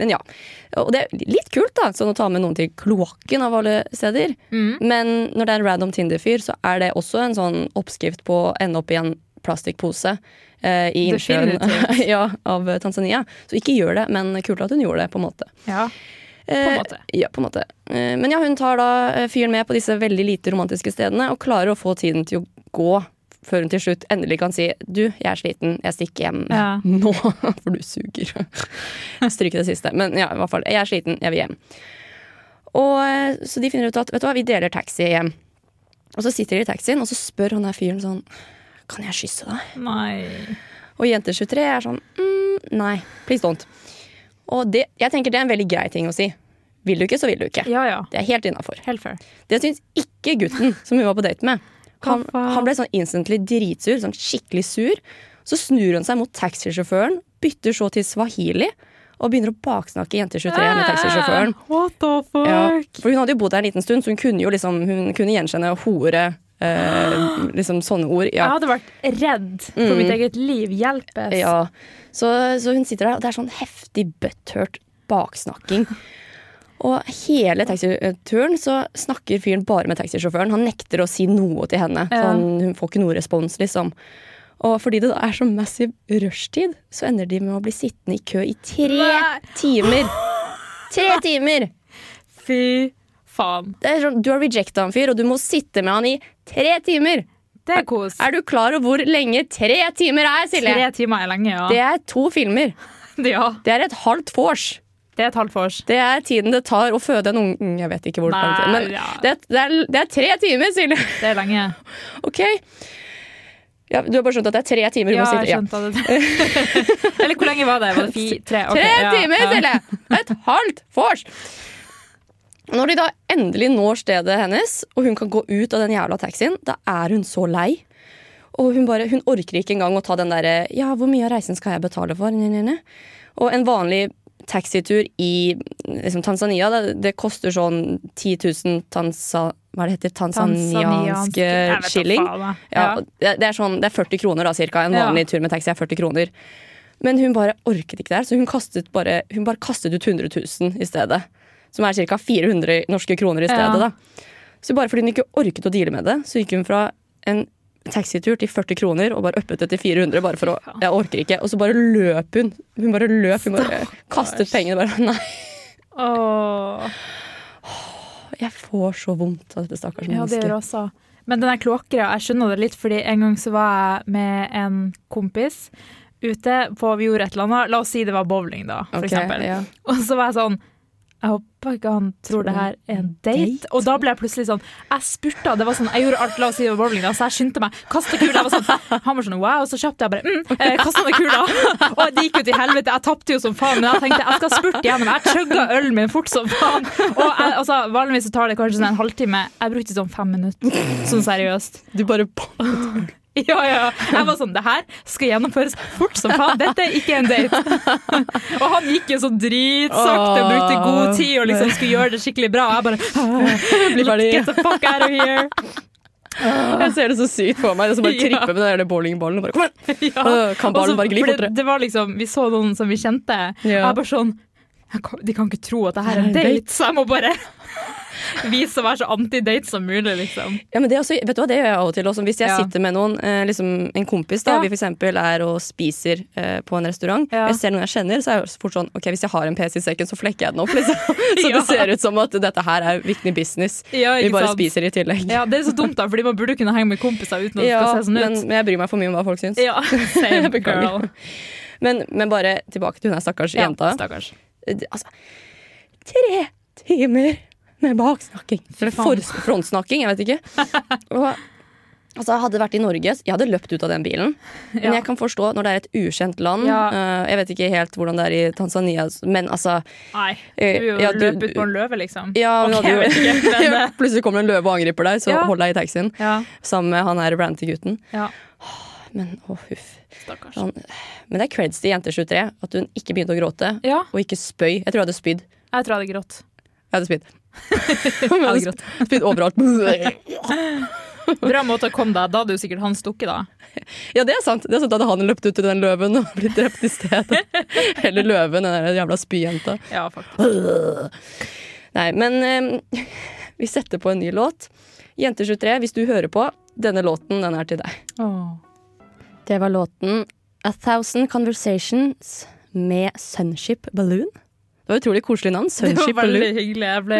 Speaker 1: Men ja. Og det er litt kult, da, sånn å ta med noen til kloakken av alle steder.
Speaker 2: Mm.
Speaker 1: Men når det er en random Tinder-fyr, så er det også en sånn oppskrift på å ende opp i en plastikkpose eh, i innsjøen
Speaker 2: Definitivt.
Speaker 1: ja, av Tanzania. Så ikke gjør det, men kult at hun gjorde det, på en måte.
Speaker 2: Ja.
Speaker 1: Eh,
Speaker 2: måte.
Speaker 1: Ja, på en måte. Eh, Men ja, hun tar da eh, fyren med på disse veldig lite romantiske stedene og klarer å få tiden til å gå før hun til slutt endelig kan si du, jeg er sliten, jeg stikker hjem
Speaker 2: Ja.
Speaker 1: nå, for du suger. Stryk det siste. Men ja, i hvert fall, jeg er sliten, jeg vil hjem. Og eh, Så de finner ut at vet du hva, vi deler taxi hjem. Og så sitter de i taxien, og så spør han her fyren sånn Kan jeg kysse deg?
Speaker 2: Nei.
Speaker 1: Og jenter 23 er sånn mm, Nei, please don't. Og det, jeg tenker det er en veldig grei ting å si. Vil du ikke, så vil du ikke.
Speaker 2: Ja, ja.
Speaker 1: Det er helt innafor.
Speaker 2: Helt fair.
Speaker 1: Det syns ikke gutten som hun var på date med. Han,
Speaker 2: Hva faen?
Speaker 1: han ble sånn instantly dritsur, sånn skikkelig sur. Så snur han seg mot taxisjåføren, bytter så til swahili og begynner å baksnakke jenter 23 med taxisjåføren.
Speaker 2: Eh, What the Ah, fuck?
Speaker 1: Ja, for hun hadde jo bodd der en liten stund, så hun kunne jo liksom, hun kunne gjenkjenne hore, eh, liksom sånne ord. Ja.
Speaker 2: Jeg hadde vært redd for mitt eget liv. Hjelpes.
Speaker 1: Mm. Ja, så, så hun sitter der, og det er sånn heftig butthurt baksnakking. Og hele taxituren så snakker fyren bare med taxisjåføren. Han nekter å si noe til henne. Så
Speaker 2: Ja.
Speaker 1: han, hun får ikke noe respons, liksom. Og fordi det da er så massiv rushtid, så ender de med å bli sittende i kø i tre
Speaker 2: Nei.
Speaker 1: timer. Tre timer!
Speaker 2: Fy faen.
Speaker 1: Det er sånn, du har rejecta en fyr, og du må sitte med han i tre timer!
Speaker 2: Det er kos.
Speaker 1: Er du klar over hvor lenge tre timer er, Silje?
Speaker 2: Tre timer er lenge, ja.
Speaker 1: Det er to filmer.
Speaker 2: ja.
Speaker 1: Det er et halvt vors.
Speaker 2: Det er et halvt vors.
Speaker 1: Det er tiden det tar å føde en unge Jeg vet ikke hvor
Speaker 2: Nei,
Speaker 1: lang tid. Men
Speaker 2: ja.
Speaker 1: det, er- det, er, det er tre timer, Silje!
Speaker 2: Det er lenge.
Speaker 1: OK. Ja, du har bare skjønt at det er tre timer. du
Speaker 2: Ja,
Speaker 1: må sitte.
Speaker 2: jeg
Speaker 1: Ja.
Speaker 2: skjønte det. Eller hvor lenge var det? Var det fi, tre? Ok,
Speaker 1: Tre
Speaker 2: ja,
Speaker 1: timer,
Speaker 2: ja.
Speaker 1: Silje! Et halvt vors! Når de da endelig når stedet hennes, og hun kan gå ut av den jævla taxien, da er hun så lei. Og hun, bare, hun orker ikke engang å ta den derre Ja, hvor mye av reisen skal jeg betale for? Nye, nye, nye. Og en vanlig taxitur i liksom, Tanzania, det, det koster sånn 10 000 tansa, hva er det heter,
Speaker 2: Tanzaniansk-
Speaker 1: tanzanianske
Speaker 2: Jeg vet da
Speaker 1: shilling.
Speaker 2: faen, da.
Speaker 1: Ja,
Speaker 2: Ja.
Speaker 1: og det, det, er sånn, det er 40 kroner da, cirka. En
Speaker 2: Ja.
Speaker 1: vanlig tur med taxi er 40 kroner. Men hun bare orket ikke det her, så hun, kastet bare, hun bare kastet ut 100 000 i stedet. Som er ca. 400 norske kroner i
Speaker 2: Ja.
Speaker 1: stedet. da. Så bare fordi hun ikke orket å deale med det, så gikk hun fra en taxitur til 40 kroner og bare uppet det til 400. bare for å, jeg orker ikke. Og så bare løp hun. Hun bare løp. Hun bare kastet pengene. bare, Nei,
Speaker 2: Åh.
Speaker 1: jeg får så vondt av dette stakkars
Speaker 2: Ja, det gjør
Speaker 1: mennesket.
Speaker 2: det også. Men den der kloakkgreia, jeg skjønner det litt, fordi en gang så var jeg med en kompis ute på Vi gjorde et eller annet. La oss si det var bowling, da, for
Speaker 1: Ok,
Speaker 2: eksempel.
Speaker 1: ja.
Speaker 2: Og så var jeg sånn jeg håper ikke han tror det her er en date. Og da ble jeg plutselig sånn Jeg spurta. det var sånn, Jeg gjorde alt la oss si det var bowling, da, så jeg skyndte meg. Kastet kula. jeg var sånn, Han var sånn wow, så kjapt. Jeg bare mm, eh, kastet ned kula. Og det gikk jo til helvete. Jeg tapte jo som faen, men jeg tenkte jeg skal spurte gjennom. Jeg chugga ølen min fort som faen. Og jeg, altså, Vanligvis så tar det kanskje sånn en halvtime. Jeg brukte sånn fem minutter. Sånn seriøst.
Speaker 1: Du bare
Speaker 2: Ja, ja. Jeg var sånn, det her skal gjennomføres fort som faen. Dette er ikke en date. Og han gikk jo så dritsakte og brukte god tid og liksom skulle gjøre det skikkelig bra. Og jeg bare
Speaker 1: blir ferdig.
Speaker 2: Get the fuck out of here.
Speaker 1: Jeg ser det så sykt for meg. Og så bare
Speaker 2: Ja.
Speaker 1: trippe med den der bowlingballen. og bare, Kom igjen!
Speaker 2: Ja.
Speaker 1: Øh, kan ballen
Speaker 2: Og så-
Speaker 1: bare gli
Speaker 2: for det-
Speaker 1: fortere?
Speaker 2: Det var liksom, vi så noen som vi kjente. Og jeg bare sånn jeg kan, De kan ikke tro at det her er en date, så jeg må bare vise å være så anti-date som mulig, liksom.
Speaker 1: Ja, men det, er også, vet du hva, det gjør jeg av og til også. Hvis jeg
Speaker 2: Ja.
Speaker 1: sitter med noen, eh, liksom en kompis da,
Speaker 2: Ja.
Speaker 1: vi for eksempel er og spiser eh, på en restaurant,
Speaker 2: Ja.
Speaker 1: jeg ser noen jeg kjenner, så er jeg fort sånn, ok, hvis jeg har en PC i sekken, så flekker jeg den opp, liksom. Så
Speaker 2: Ja.
Speaker 1: det ser ut som at dette her er viktig business.
Speaker 2: Ja,
Speaker 1: vi
Speaker 2: ikke
Speaker 1: bare
Speaker 2: sant?
Speaker 1: spiser i tillegg.
Speaker 2: Ja, Det er så dumt, da, fordi man burde kunne henge med kompiser uten at det
Speaker 1: Ja,
Speaker 2: skal se sånn
Speaker 1: men,
Speaker 2: ut.
Speaker 1: men jeg bryr meg for mye om hva folk syns.
Speaker 2: Ja, same
Speaker 1: Jeg beklager.
Speaker 2: girl.
Speaker 1: Men, men bare tilbake til hun her stakkars jenta.
Speaker 2: Stakkars.
Speaker 1: Eh, Altså, tre timer med baksnakking. Eller
Speaker 2: faen.
Speaker 1: for, frontsnakking, jeg vet ikke. Og, altså, hadde det vært i Norge, jeg hadde løpt ut av den bilen. Men
Speaker 2: Ja.
Speaker 1: jeg kan forstå når det er et ukjent land.
Speaker 2: Ja.
Speaker 1: eh, jeg vet ikke helt hvordan det er i Tanzania, men altså
Speaker 2: Nei, du
Speaker 1: Eh,
Speaker 2: er jo
Speaker 1: ja, du-
Speaker 2: løp ut på en løve, liksom.
Speaker 1: ja, hun
Speaker 2: Ok,
Speaker 1: hadde jo-
Speaker 2: jeg vet ikke, men, eh,
Speaker 1: Plutselig kommer det en løve og angriper deg, så
Speaker 2: Ja.
Speaker 1: hold deg i taxien
Speaker 2: ja,
Speaker 1: sammen med han her ranty gutten.
Speaker 2: ja.
Speaker 1: Men å, huff.
Speaker 2: Stakkars.
Speaker 1: Han- Men det er creds til Jenter23 at hun ikke begynte å gråte.
Speaker 2: Ja,
Speaker 1: Og ikke spøy. Jeg tror jeg hadde spydd.
Speaker 2: jeg tror jeg hadde grått.
Speaker 1: Jeg hadde spydd. jeg hadde grått. Spydd overalt.
Speaker 2: Bra måte å komme deg. Da hadde jo sikkert han stukket, da.
Speaker 1: Ja, det er sant. Det er sant at han løpt ut til den løven og blitt drept i stedet. Eller løven, den der jævla spyjenta.
Speaker 2: Ja, faktisk.
Speaker 1: Nei, men eh, vi setter på en ny låt. Jenter23, hvis du hører på, denne låten, den er til deg. Det var låten A Thousand Conversations med Sunship Balloon. Det var utrolig koselig navn.
Speaker 2: Det var
Speaker 1: Sunship Balloon.
Speaker 2: veldig hyggelig. Jeg ble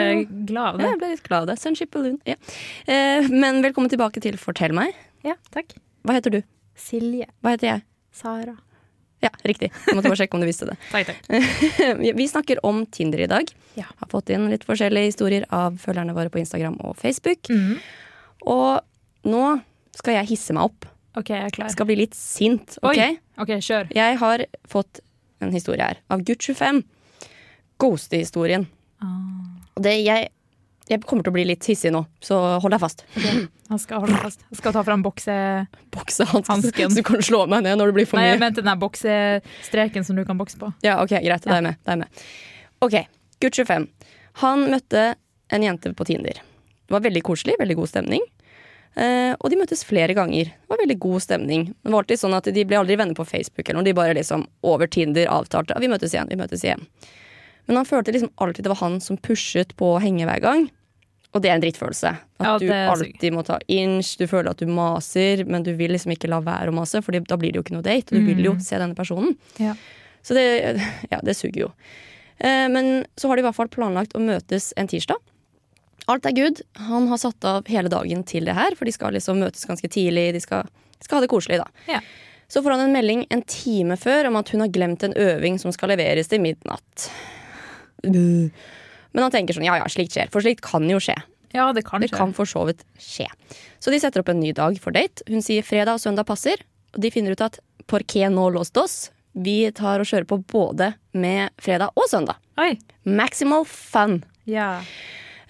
Speaker 2: glad av
Speaker 1: Ja,
Speaker 2: det.
Speaker 1: jeg ble litt glad av det. Sunship Balloon. Ja. Eh, men velkommen tilbake til Fortell meg.
Speaker 2: Ja, takk.
Speaker 1: Hva heter du?
Speaker 2: Silje.
Speaker 1: Hva heter jeg?
Speaker 2: Sara.
Speaker 1: Ja, riktig. Jeg måtte bare sjekke om du visste det.
Speaker 2: Takk, takk.
Speaker 1: Eh, Vi snakker om Tinder i dag.
Speaker 2: Ja.
Speaker 1: Har fått inn litt forskjellige historier av følgerne våre på Instagram og Facebook.
Speaker 2: Mhm.
Speaker 1: Og nå skal jeg hisse meg opp.
Speaker 2: OK, jeg er klar.
Speaker 1: Jeg skal bli litt sint,
Speaker 2: Oi.
Speaker 1: OK?
Speaker 2: OK, kjør.
Speaker 1: Jeg har fått en historie her av Gutt 25. Ghostehistorien.
Speaker 2: Ah.
Speaker 1: Og det jeg Jeg kommer til å bli litt hissig nå, så hold deg fast.
Speaker 2: Jeg skal holde fast. Jeg skal ta fram bokse...
Speaker 1: Boksehansken,
Speaker 2: Hansken.
Speaker 1: så du kan slå meg ned når det blir for
Speaker 2: Nei,
Speaker 1: mye.
Speaker 2: jeg mente den der boksestreken som du kan bokse på.
Speaker 1: Ja, ok, greit. Da er jeg med. Da er jeg med. Ok, gutt 25. Han møtte en jente på Tinder. Det var veldig koselig, veldig god stemning. Eh, og de møttes flere ganger. Det var veldig god stemning. Det var alltid sånn at De ble aldri venner på Facebook, eller noe. de bare liksom over Tinder avtalte at vi møtes igjen. vi møtes igjen. Men han følte liksom alltid det var han som pushet på å henge hver gang. Og det er en drittfølelse. At
Speaker 2: Ja,
Speaker 1: du
Speaker 2: det er sykt.
Speaker 1: alltid må ta inch, du føler at du maser, men du vil liksom ikke la være å mase, for da blir det jo ikke noe date.
Speaker 2: Mm.
Speaker 1: Du vil jo se denne personen.
Speaker 2: Ja.
Speaker 1: Så det, ja, det suger jo. Eh, Men så har de i hvert fall planlagt å møtes en tirsdag. Alt er good. Han har satt av hele dagen til det her, for de skal liksom møtes ganske tidlig. De skal, de skal ha det koselig, da.
Speaker 2: Ja.
Speaker 1: Så får han en melding en time før om at hun har glemt en øving som skal leveres til midnatt. Men han tenker sånn, ja ja, slikt skjer. For slikt kan jo skje.
Speaker 2: Ja, det kan
Speaker 1: Det
Speaker 2: skje.
Speaker 1: kan for så vidt skje. Så de setter opp en ny dag for date. Hun sier fredag og søndag passer. Og de finner ut at por qué no los dos? Vi tar og kjører på både med fredag og søndag.
Speaker 2: Oi.
Speaker 1: Maximal fun.
Speaker 2: Ja.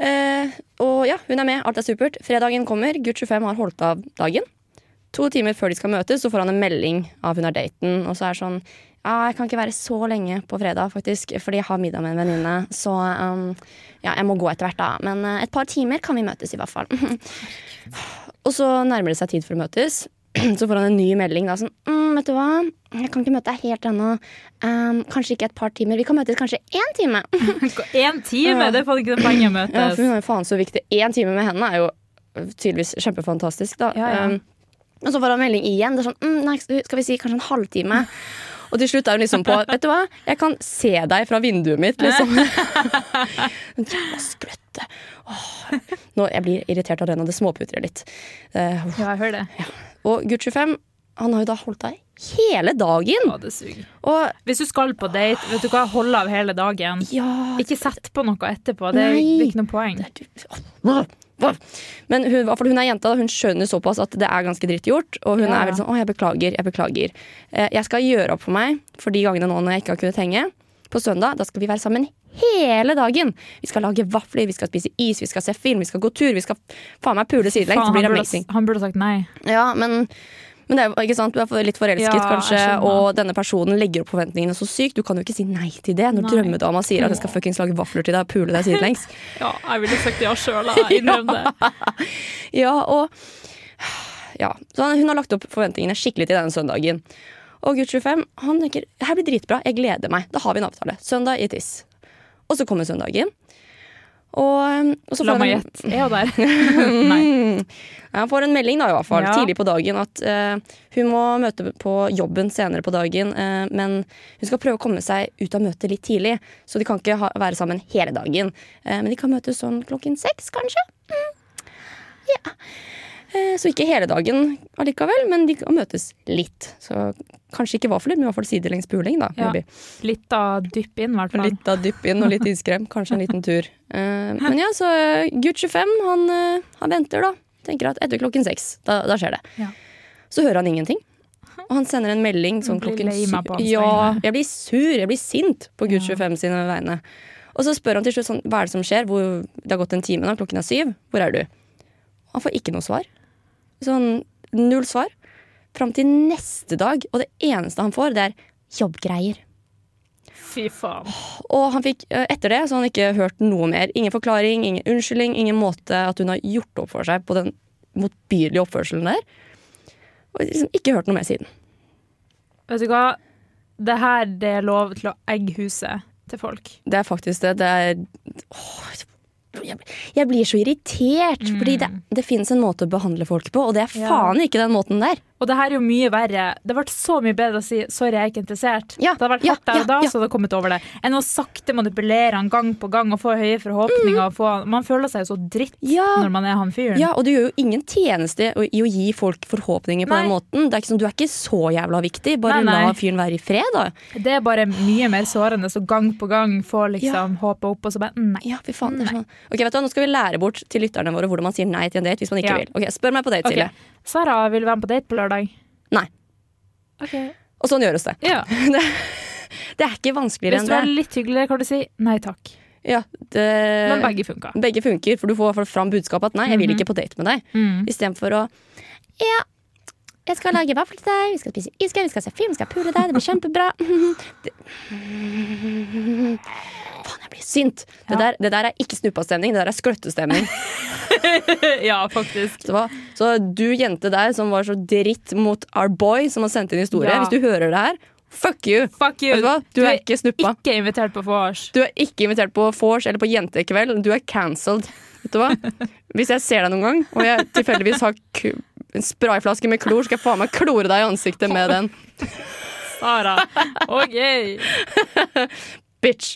Speaker 1: Eh, og ja, hun er med. Alt er supert. Fredagen kommer. Gutt 25 har holdt av dagen. To timer før de skal møtes, så får han en melding av hun er daten. Og så er det sånn Ja, jeg kan ikke være så lenge på fredag, faktisk, fordi jeg har middag med en venninne. Så um, ja, jeg må gå etter hvert, da. Men eh, et par timer kan vi møtes, i hvert fall. og så nærmer det seg tid for å møtes. Så får han en ny melding da, sånn mm, Vet du hva, jeg kan ikke møte deg helt ennå. Um, kanskje ikke et par timer. Vi kan møtes kanskje én time.
Speaker 2: Én time! Det er faen ikke det poenget å
Speaker 1: Ja, for hun
Speaker 2: møtes.
Speaker 1: er jo faen så viktig. Én time med henne er jo øh, tydeligvis kjempefantastisk, da.
Speaker 2: Ja, ja.
Speaker 1: Um, og så får han melding igjen. Det er sånn, mm, nei, skal vi si kanskje en halvtime? Og til slutt er hun liksom på Vet du hva, jeg kan se deg fra vinduet mitt, liksom. Jævla skrøtte. Åh. Nå, jeg blir irritert av den, og det småputrer litt. Eh, uff.
Speaker 2: Ja, jeg hører det.
Speaker 1: og gutt 25, han har jo da holdt av hele dagen.
Speaker 2: Å, det suger.
Speaker 1: Og
Speaker 2: Hvis du skal på date, vet du hva, hold av hele dagen.
Speaker 1: ja,
Speaker 2: Ikke sett på noe etterpå. Det er,
Speaker 1: Nei.
Speaker 2: det er ikke noe poeng.
Speaker 1: Men hun, i hvert fall hun er jenta, da. hun skjønner såpass at det er ganske dritt gjort. Og hun
Speaker 2: Ja, ja.
Speaker 1: er veldig sånn 'Å, jeg beklager, jeg beklager'. Eh, Jeg skal gjøre opp for meg for de gangene nå når jeg ikke har kunnet henge. På søndag da skal vi være sammen hele dagen. Vi skal lage vafler, vi skal spise is, vi skal se film, vi skal gå tur. Vi skal faen meg pule sidelengs.
Speaker 2: Faen,
Speaker 1: Det
Speaker 2: han,
Speaker 1: blir
Speaker 2: burde,
Speaker 1: amazing.
Speaker 2: han burde sagt nei.
Speaker 1: Ja, men men det er jo, ikke sant? du er for- litt forelsket,
Speaker 2: Ja, jeg
Speaker 1: kanskje,
Speaker 2: skjønner.
Speaker 1: og denne personen legger opp forventningene så sykt. Du kan jo ikke si nei til det når
Speaker 2: Nei.
Speaker 1: drømmedama sier at hun skal fuckings lage vafler til deg og pule deg sidelengs.
Speaker 2: Ja, jeg ville sagt ja sjøl, jeg innrømmer det.
Speaker 1: Ja, og ja. Så han- hun har lagt opp forventningene skikkelig til denne søndagen. Og gutt 25 han tenker det her blir dritbra, jeg gleder meg. Da har vi en avtale. Søndag i Tiss. Og så kommer søndagen. Og, og så
Speaker 2: La
Speaker 1: får
Speaker 2: meg
Speaker 1: han,
Speaker 2: gjette. Er hun der? Nei.
Speaker 1: ja, han får en melding da i hvert fall,
Speaker 2: Ja.
Speaker 1: tidlig på dagen at eh, hun må møte på jobben senere på dagen. eh, men hun skal prøve å komme seg ut av møtet litt tidlig, så de kan ikke ha, være sammen hele dagen. Eh, men de kan møtes sånn klokken seks, kanskje. Mm. Eh, Så ikke hele dagen allikevel, men de kan møtes litt. Så kanskje ikke vafler, men i hvert fall sidelengs puling, da.
Speaker 2: Ja.
Speaker 1: maybe.
Speaker 2: Litt av dypp inn, i hvert fall.
Speaker 1: Litt av dypp inn og litt iskrem. Kanskje en liten tur. Eh, Men ja, så eh, gutt 25, han, eh, han venter, da. Tenker at etter klokken seks, da, da skjer det.
Speaker 2: Ja.
Speaker 1: Så hører han ingenting. Og han sender en melding sånn
Speaker 2: Jeg blir
Speaker 1: klokken
Speaker 2: lei meg på
Speaker 1: syv.
Speaker 2: hans
Speaker 1: Ja,
Speaker 2: vegne.
Speaker 1: jeg blir sur, jeg blir sint på gutt 25 sine vegne. Og så spør han til slutt sånn, hva er det som skjer, Hvor, det har gått en time nå, klokken er syv, hvor er du? Han får ikke noe svar. Sånn null svar. fram til neste dag, og det eneste han får, det er jobbgreier.
Speaker 2: Fy faen.
Speaker 1: Og han fikk, eh, etter det så har han ikke hørt noe mer. Ingen forklaring, ingen unnskyldning, ingen måte at hun har gjort opp for seg på den motbydelige oppførselen der. Og liksom ikke hørt noe mer siden.
Speaker 2: Vet du hva? Det her det er lov til å egge huset til folk.
Speaker 1: Det er faktisk det. Det er Åh, jeg, jeg blir så irritert, fordi det, det finnes en måte å behandle folk på, og det er
Speaker 2: Mm. Ja.
Speaker 1: faen ikke den måten der.
Speaker 2: Og det her er jo mye verre. Det har vært så mye bedre å si 'sorry, jeg er ikke interessert'.
Speaker 1: Ja,
Speaker 2: det har vært
Speaker 1: ja,
Speaker 2: hardt der og da,
Speaker 1: ja, ja.
Speaker 2: så hadde jeg kommet over det. Enn å sakte manipulere han gang på gang og få høye forhåpninger. Og få, man føler seg jo så dritt
Speaker 1: Mm. Ja.
Speaker 2: når man er han fyren.
Speaker 1: Ja, Og du gjør jo ingen tjeneste i i å gi folk forhåpninger på
Speaker 2: Nei.
Speaker 1: den måten. Det er ikke sånn, Du er ikke så jævla viktig. Bare
Speaker 2: Nei, nei.
Speaker 1: la fyren være i fred, da.
Speaker 2: Det er bare mye mer sårende å gang på gang få liksom håpet opp, og så bare nei.
Speaker 1: Ja, fy faen. det
Speaker 2: Mm.
Speaker 1: er Sånn. Ok, vet du hva, Nå skal vi lære bort til lytterne våre hvordan man sier nei til en date hvis man ikke
Speaker 2: Ja.
Speaker 1: vil. Ok, Spør meg på date,
Speaker 2: Ok,
Speaker 1: Silje.
Speaker 2: Sara vil være med på date på lørdag.
Speaker 1: Nei. Og sånn gjøres det.
Speaker 2: Ja.
Speaker 1: Det er ikke vanskeligere
Speaker 2: Hvis
Speaker 1: enn
Speaker 2: du er
Speaker 1: det.
Speaker 2: litt hyggelig, kan du si nei takk.
Speaker 1: Ja, det... Eh.
Speaker 2: Men begge funka.
Speaker 1: Begge funker, for du får i hvert fall fram budskapet at nei, jeg vil ikke på date med deg.
Speaker 2: Mm.
Speaker 1: Istedenfor å ja, jeg skal lage vafler til deg, vi skal spise iskrem, vi skal se film, vi skal pule deg, det blir kjempebra. Det... Faen, jeg blir sint.
Speaker 2: Ja.
Speaker 1: Det, der, det der er ikke snuppastemning, det der er skløttestemning.
Speaker 2: ja, faktisk.
Speaker 1: Så, hva? så du jente der som var så dritt mot our boy som har sendt inn historie,
Speaker 2: Ja.
Speaker 1: hvis du hører det her, fuck you!
Speaker 2: Fuck you.
Speaker 1: Vet du hva? Du er ikke snuppa.
Speaker 2: Ikke invitert på vors.
Speaker 1: Du er ikke invitert på vors eller på jentekveld. Du er cancelled. Vet du hva? Hvis jeg ser deg noen gang, og jeg tilfeldigvis har ku- en sprayflaske med klor, skal jeg faen meg klore deg i ansiktet med den.
Speaker 2: Sara. OK.
Speaker 1: Bitch.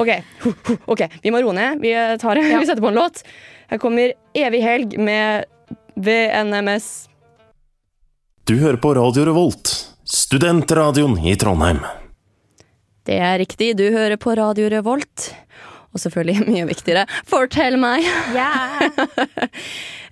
Speaker 1: OK, Huh, huh. Ok, vi må roe ned. Vi, eh, tar, vi setter på en låt. Her kommer Evig helg med VNMS.
Speaker 6: Du hører på Radio Revolt, studentradioen i Trondheim.
Speaker 1: Det er riktig, du hører på Radio Revolt. Og selvfølgelig mye viktigere, fortell meg!
Speaker 2: Yeah.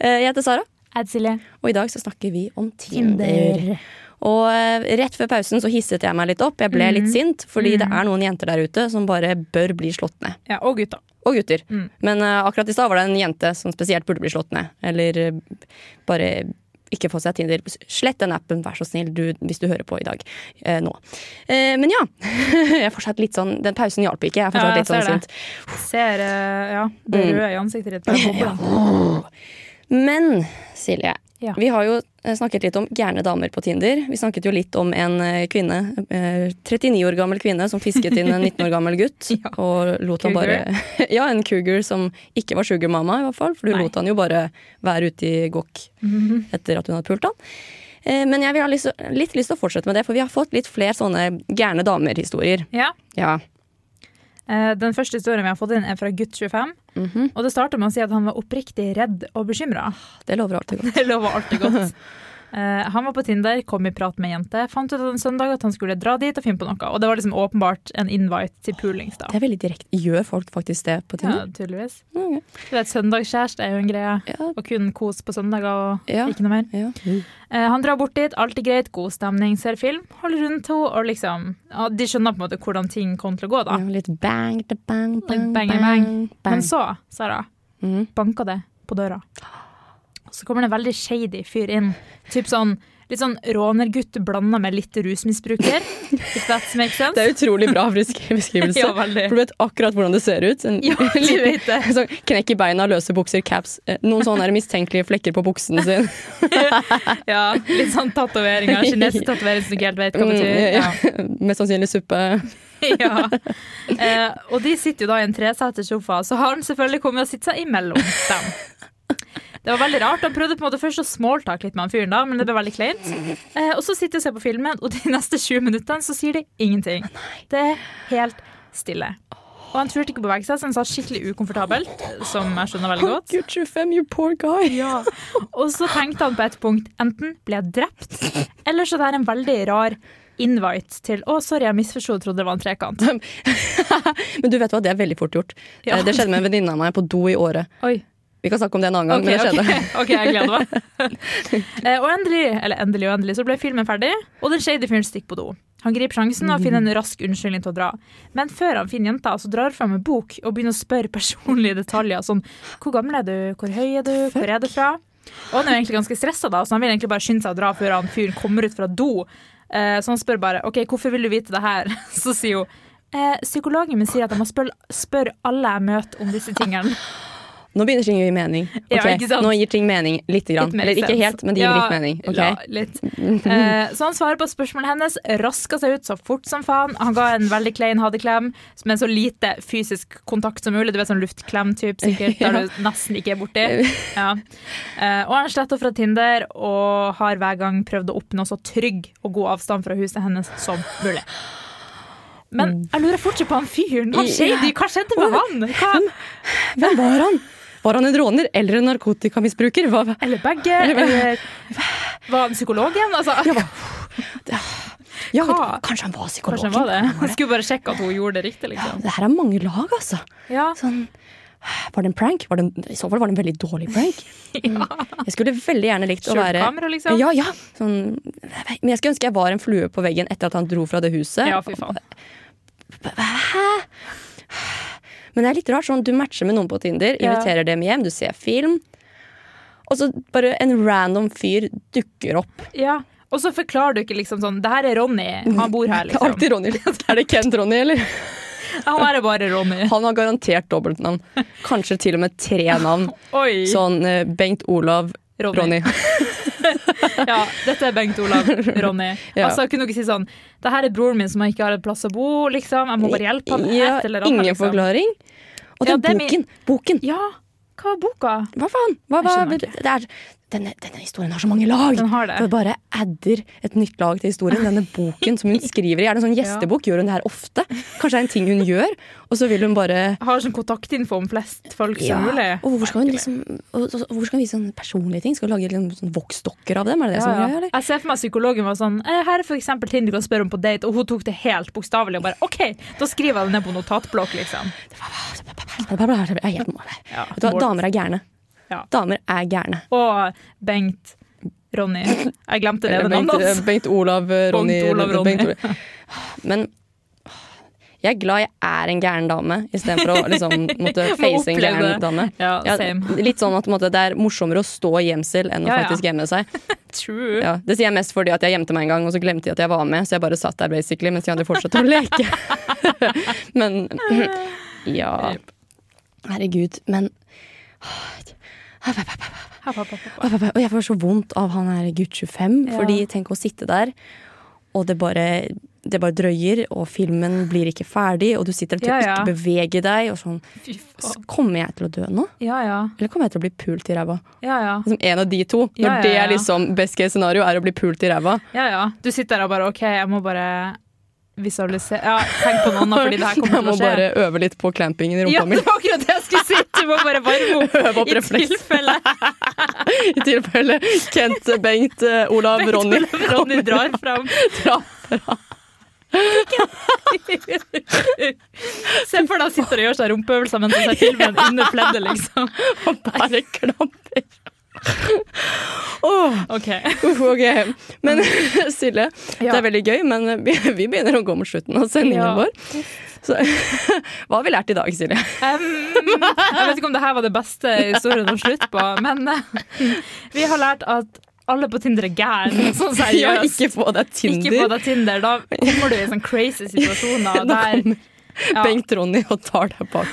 Speaker 1: Eh, Jeg heter Sara,
Speaker 2: Ed Silje.
Speaker 1: og i dag så snakker vi om Tinder. Og eh, rett før pausen så hisset jeg meg litt opp. Jeg ble
Speaker 2: Mhm.
Speaker 1: litt sint, fordi det er noen jenter der ute som bare bør bli slått ned.
Speaker 2: Ja, og gutta.
Speaker 1: Og gutter.
Speaker 2: Mm.
Speaker 1: Men eh, akkurat i stad var det en jente som spesielt burde bli slått ned. Eller eh, bare ikke få seg Tinder. Slett den appen, vær så snill, du, hvis du hører på i dag. eh, nå. Eh, men ja. jeg er fortsatt litt sånn Den pausen hjalp ikke.
Speaker 2: Ja,
Speaker 1: Jeg er fortsatt
Speaker 2: jeg
Speaker 1: litt sånn
Speaker 2: ser det.
Speaker 1: sint.
Speaker 2: Ser eh, ja, det røde i ansiktet ditt. bare bobler.
Speaker 1: Men Silje,
Speaker 2: Ja.
Speaker 1: vi har jo eh, snakket litt om gærne damer på Tinder. Vi snakket jo litt om en eh, kvinne, eh, 39 år gammel kvinne, som fisket inn en 19 år gammel gutt.
Speaker 2: Ja.
Speaker 1: Og lot han bare Ja, en cougar som ikke var sugar mama, i hvert fall. For du
Speaker 2: Nei.
Speaker 1: lot han jo bare være ute i gokk etter at hun hadde pult han. Eh, Men jeg vil ha lyst, litt lyst til å fortsette med det, for vi har fått litt flere sånne gærne damer-historier.
Speaker 2: Ja.
Speaker 1: Ja.
Speaker 2: Eh, Den første historien vi har fått inn, er fra gutt 25.
Speaker 1: Mhm.
Speaker 2: Og det starter med å si at han var oppriktig redd og bekymra.
Speaker 1: Det lover alltid godt.
Speaker 2: Det lover alltid godt. Eh, han var på Tinder, kom i prat med ei jente. Fant ut en søndag at han skulle dra dit og finne på noe. Og det var liksom åpenbart en invite til poolings, da.
Speaker 1: Det er veldig direkte. Gjør folk faktisk det på
Speaker 2: Ja,
Speaker 1: Tinder?
Speaker 2: tydeligvis.
Speaker 1: Ja. ok.
Speaker 2: Du vet, søndagskjæreste er jo en greie.
Speaker 1: Ja.
Speaker 2: Og kun kos på søndager og
Speaker 1: Ja.
Speaker 2: ikke noe mer.
Speaker 1: ja.
Speaker 2: Eh, Han drar bort dit, alt er greit, god stemning, ser film, holder rundt henne, og liksom ja, De skjønner på en måte hvordan ting kommer til å gå, da.
Speaker 1: Ja, litt bang, da bang, bang,
Speaker 2: Bang,
Speaker 1: bang,
Speaker 2: bang,
Speaker 1: bang,
Speaker 2: Men så, Sara,
Speaker 1: Mhm.
Speaker 2: banker det på døra. Og så kommer det en veldig shady fyr inn. Typ sånn litt sånn rånergutt blanda med litt rusmisbruker. If that makes sense.
Speaker 1: Det er utrolig bra beskri- beskrivelse.
Speaker 2: Ja, veldig.
Speaker 1: For du vet akkurat hvordan det ser ut. En
Speaker 2: Ja, du
Speaker 1: liten-
Speaker 2: vet det.
Speaker 1: sånn knekk i beina, løse bukser, caps. eh, Noen sånne her mistenkelige flekker på buksene sin.
Speaker 2: ja, litt sånn tatoveringer. Kinesisk tatovering som du ikke helt vet hva
Speaker 1: Mm,
Speaker 2: betyr.
Speaker 1: ja,
Speaker 2: Ja.
Speaker 1: Mest sannsynlig suppe.
Speaker 2: ja. Eh, og de sitter jo da i en treseters sofa, så har han selvfølgelig kommet og sitter seg imellom dem. Det var veldig rart. Han prøvde på en måte først å smalltalk litt med han fyren, da, men det ble veldig kleint. Eh, og så sitter de og ser på filmen, og de neste 20 minuttene så sier de ingenting. Det er helt stille. Og han turte ikke å bevege seg, så han sa skikkelig ukomfortabelt, som jeg skjønner veldig godt.
Speaker 1: You're 25, you poor guy.
Speaker 2: Ja. Og så tenkte han på et punkt enten ble jeg drept, eller så det er en veldig rar invite til Å, sorry, jeg misforsto og trodde det var en trekant.
Speaker 1: Men du vet hva, det er veldig fort gjort.
Speaker 2: Ja.
Speaker 1: Eh, Det skjedde med en venninne av meg på do i året.
Speaker 2: Oi,
Speaker 1: Vi kan snakke om det en annen gang,
Speaker 2: Ok,
Speaker 1: men det skjedde.
Speaker 2: ok, ok, jeg gleder meg. Eh, og endelig, eller endelig og endelig, så ble filmen ferdig, og den shady fyren stikker på do. Han griper sjansen og finner en rask unnskyldning til å dra. Men før han finner jenta, så drar han fram en bok og begynner å spørre personlige detaljer. Sånn, hvor gammel er du, hvor høy er du, hvor er du fra? Og han er jo egentlig ganske stressa, da, så han vil egentlig bare skynde seg å dra før han fyren kommer ut fra do. Eh, så han spør bare OK, hvorfor vil du vite det her? Så sier hun eh, psykologen min sier at jeg må spørre spør alle jeg møter om disse tingene.
Speaker 1: Nå begynner ting å gi mening.
Speaker 2: Ja,
Speaker 1: Ok,
Speaker 2: ikke sant?
Speaker 1: Nå gir ting mening lite grann.
Speaker 2: Litt mer
Speaker 1: Eller ikke
Speaker 2: sens.
Speaker 1: helt, men det gir
Speaker 2: Ja,
Speaker 1: litt mening. ok?
Speaker 2: Ja, litt. Eh, så han svarer på spørsmålet hennes, raska seg ut så fort som faen. Han ga en veldig klein hadeklem med så lite fysisk kontakt som mulig. Du vet sånn luftklem-type sikkert, der du nesten ikke er borti. Ja. Eh, og han er sletta fra Tinder og har hver gang prøvd å oppnå så trygg og god avstand fra huset hennes som mulig. Men
Speaker 1: Mm.
Speaker 2: jeg lurer fortsatt på han fyren. Han shady, hva skjedde med han? Hva?
Speaker 1: Hvem var han? Var han en råner eller en narkotikamisbruker? Hva, hva-
Speaker 2: Eller begge? Eller var han psykologen? Altså,
Speaker 1: ja, vet du,
Speaker 2: Hva?
Speaker 1: kanskje han var psykologen?
Speaker 2: Kanskje han var det. Jeg skulle bare sjekke at hun gjorde det riktig. liksom.
Speaker 1: Det her er mange lag, altså.
Speaker 2: Ja,
Speaker 1: Sånn, var det en prank? Var det en, I så fall var det en veldig dårlig prank. Mm. Jeg skulle veldig gjerne likt å
Speaker 2: Skjult
Speaker 1: være
Speaker 2: kamera, liksom?
Speaker 1: Ja, ja. Sånn, men jeg skulle ønske jeg var en flue på veggen etter at han dro fra det huset.
Speaker 2: ja fy faen.
Speaker 1: Men det er litt rart. Sånn, du matcher med noen på Tinder,
Speaker 2: Ja.
Speaker 1: inviterer dem hjem, du ser film. Og så bare en random fyr dukker opp.
Speaker 2: Ja. Og så forklarer du ikke liksom sånn Det her er Ronny, han bor her,
Speaker 1: Det er
Speaker 2: liksom.
Speaker 1: alltid Ronny. Er det Kent Ronny, eller?
Speaker 2: Han er bare Ronny.
Speaker 1: Han har garantert dobbeltnavn. Kanskje til og med tre navn.
Speaker 2: Oi.
Speaker 1: Sånn eh, Bengt Olav
Speaker 2: Ronny.
Speaker 1: Ronny.
Speaker 2: Ja, dette er Bengt Olav Ronny.
Speaker 1: Ja.
Speaker 2: Altså, Kunne du ikke si sånn Det her er broren min som ikke har et plass å bo, liksom. Jeg må bare hjelpe ham.
Speaker 1: Ja,
Speaker 2: et eller annet,
Speaker 1: ingen
Speaker 2: liksom.
Speaker 1: forklaring. Og den
Speaker 2: Ja, det er min-
Speaker 1: boken! Boken!
Speaker 2: Ja, hva var boka?
Speaker 1: Hva faen? Hva, hva,
Speaker 2: Jeg skjønner
Speaker 1: det er, denne, denne historien har så mange lag!
Speaker 2: Den har det.
Speaker 1: For bare adder et nytt lag til historien. Denne boken som hun skriver i, er det en sånn gjestebok? Gjør hun det her ofte? Kanskje det er en ting hun gjør, og så vil hun bare
Speaker 2: Har sånn kontaktinfo om flest folk
Speaker 1: ja.
Speaker 2: som mulig.
Speaker 1: Og hvorfor skal hun liksom og, og, og, Hvor skal hun vise sånne personlige ting? Skal hun lage liksom, sånn voksdokker av dem? Er det det som
Speaker 2: Ja,
Speaker 1: er greia,
Speaker 2: ja.
Speaker 1: eller?
Speaker 2: Jeg ser for meg psykologen var sånn eh, Her er for eksempel ting du kan spørre om på date, og hun tok det helt bokstavelig og bare OK, da skriver jeg det ned på notatblokk, liksom.
Speaker 1: Jeg er helt mål.
Speaker 2: Ja.
Speaker 1: Vet du hva, damer er gærne.
Speaker 2: Ja.
Speaker 1: Damer er gærne.
Speaker 2: Og Bengt Ronny. Jeg glemte det.
Speaker 1: Eller
Speaker 2: men
Speaker 1: Bengt,
Speaker 2: navnet hans.
Speaker 1: Bengt Olav, eh, Ronny.
Speaker 2: Bengt Olav,
Speaker 1: eller
Speaker 2: Ronny.
Speaker 1: Bengt Olav. Men åh, jeg er glad jeg er en gæren dame, istedenfor å liksom, måtte face en
Speaker 2: oppleve det.
Speaker 1: gæren dame.
Speaker 2: Ja,
Speaker 1: Ja,
Speaker 2: same.
Speaker 1: litt sånn at på en måte, Det er morsommere å stå i gjemsel enn å
Speaker 2: Ja, ja.
Speaker 1: faktisk gjemme seg.
Speaker 2: True.
Speaker 1: Ja, det sier jeg mest fordi at jeg gjemte meg en gang, og så glemte jeg at jeg var med, så jeg bare satt der basically mens de andre fortsatte å leke. Men ja. Herregud. Men
Speaker 2: Ha, ha, ha, ha.
Speaker 1: Og jeg- og jeg får så vondt av han her gutt 25,
Speaker 2: Ja.
Speaker 1: fordi tenk å sitte der, og det bare, det bare drøyer, og filmen blir ikke ferdig, og du sitter til
Speaker 2: Ja,
Speaker 1: å
Speaker 2: ja.
Speaker 1: ikke bevege deg, og sånn.
Speaker 2: Fy
Speaker 1: S-
Speaker 2: faen.
Speaker 1: Kommer jeg til å dø nå?
Speaker 2: Ja, ja.
Speaker 1: Eller kommer jeg til å bli pult i ræva?
Speaker 2: Ja, ja.
Speaker 1: Liksom en av de to. Når
Speaker 2: Ja, ja,
Speaker 1: det er
Speaker 2: ja.
Speaker 1: liksom best case scenario, er å bli pult i ræva.
Speaker 2: ja, ja. Du sitter der og bare OK, jeg må bare visualisere Ja, tenk på noe annet, fordi det her
Speaker 1: Jeg
Speaker 2: kommer
Speaker 1: må
Speaker 2: til å skje.
Speaker 1: bare øve litt på clampingen i rumpa
Speaker 2: Ja,
Speaker 1: mi.
Speaker 2: det var akkurat det jeg skulle si! Du må bare varme opp
Speaker 1: Øve opp
Speaker 2: i
Speaker 1: refleks.
Speaker 2: tilfelle
Speaker 1: I tilfelle Kent, Bengt, eh, Olav,
Speaker 2: Bengt
Speaker 1: Ronny
Speaker 2: Olav Ronny drar fram.
Speaker 1: drar
Speaker 2: Se for deg han sitter og gjør seg rumpeøvelser mens han ser filmen under pleddet, liksom.
Speaker 1: og bare klamper. Åh,
Speaker 2: OK.
Speaker 1: uff, ok. Men Silje, det er veldig gøy, men vi, vi begynner å gå mot slutten av sendingen
Speaker 2: Ja.
Speaker 1: vår. Så hva har vi lært i dag, Silje?
Speaker 2: Um, jeg vet ikke om det her var det beste historien å slutte på, men eh, vi har lært at alle på Tinder er gæren. Sånn
Speaker 1: Ja,
Speaker 2: seriøst.
Speaker 1: ikke få deg
Speaker 2: Ikke få
Speaker 1: Tinder.
Speaker 2: deg Tinder. Da kommer du i sånne crazy situasjoner
Speaker 1: Da
Speaker 2: der
Speaker 1: kommer
Speaker 2: ja,
Speaker 1: Bengt Ronny og tar deg bak.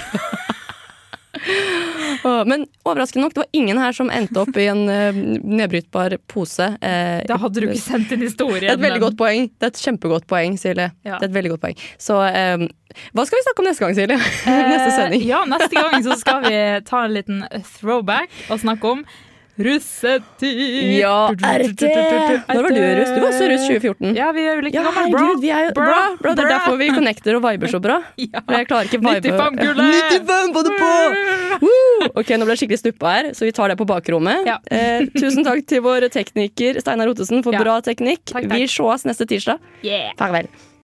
Speaker 1: Åh, Men overraskende nok, det var ingen her som endte opp i en eh, nedbrytbar pose. eh,
Speaker 2: Da hadde du ikke sendt inn historien.
Speaker 1: Det er et veldig
Speaker 2: men-
Speaker 1: godt poeng. Det er et kjempegodt poeng, Silje.
Speaker 2: Ja.
Speaker 1: Det er et veldig godt poeng. Så eh, hva skal vi snakke om neste gang, Silje? neste
Speaker 2: Eh,
Speaker 1: sending.
Speaker 2: Ja, neste gang så skal vi ta en liten throwback og snakke om russetid.
Speaker 1: Ja, er det det? Når var du russ? Du var også
Speaker 2: Eh,
Speaker 1: russ 2014.
Speaker 2: Ja, vi er jo like
Speaker 1: Ja,
Speaker 2: gamle.
Speaker 1: herregud, vi er jo bra, bra. Det er derfor vi connecter og viber så bra.
Speaker 2: Ja.
Speaker 1: For jeg klarer ikke vibe
Speaker 2: 95-gullet!
Speaker 1: 95 på det på! Woo! Ok, nå ble jeg skikkelig stuppa her, så vi tar det på bakrommet.
Speaker 2: Ja.
Speaker 1: Eh, tusen takk til vår tekniker Steinar Ottesen for
Speaker 2: Ja.
Speaker 1: bra teknikk.
Speaker 2: Takk, takk.
Speaker 1: Vi sees neste tirsdag.
Speaker 2: Yeah.
Speaker 1: Farvel.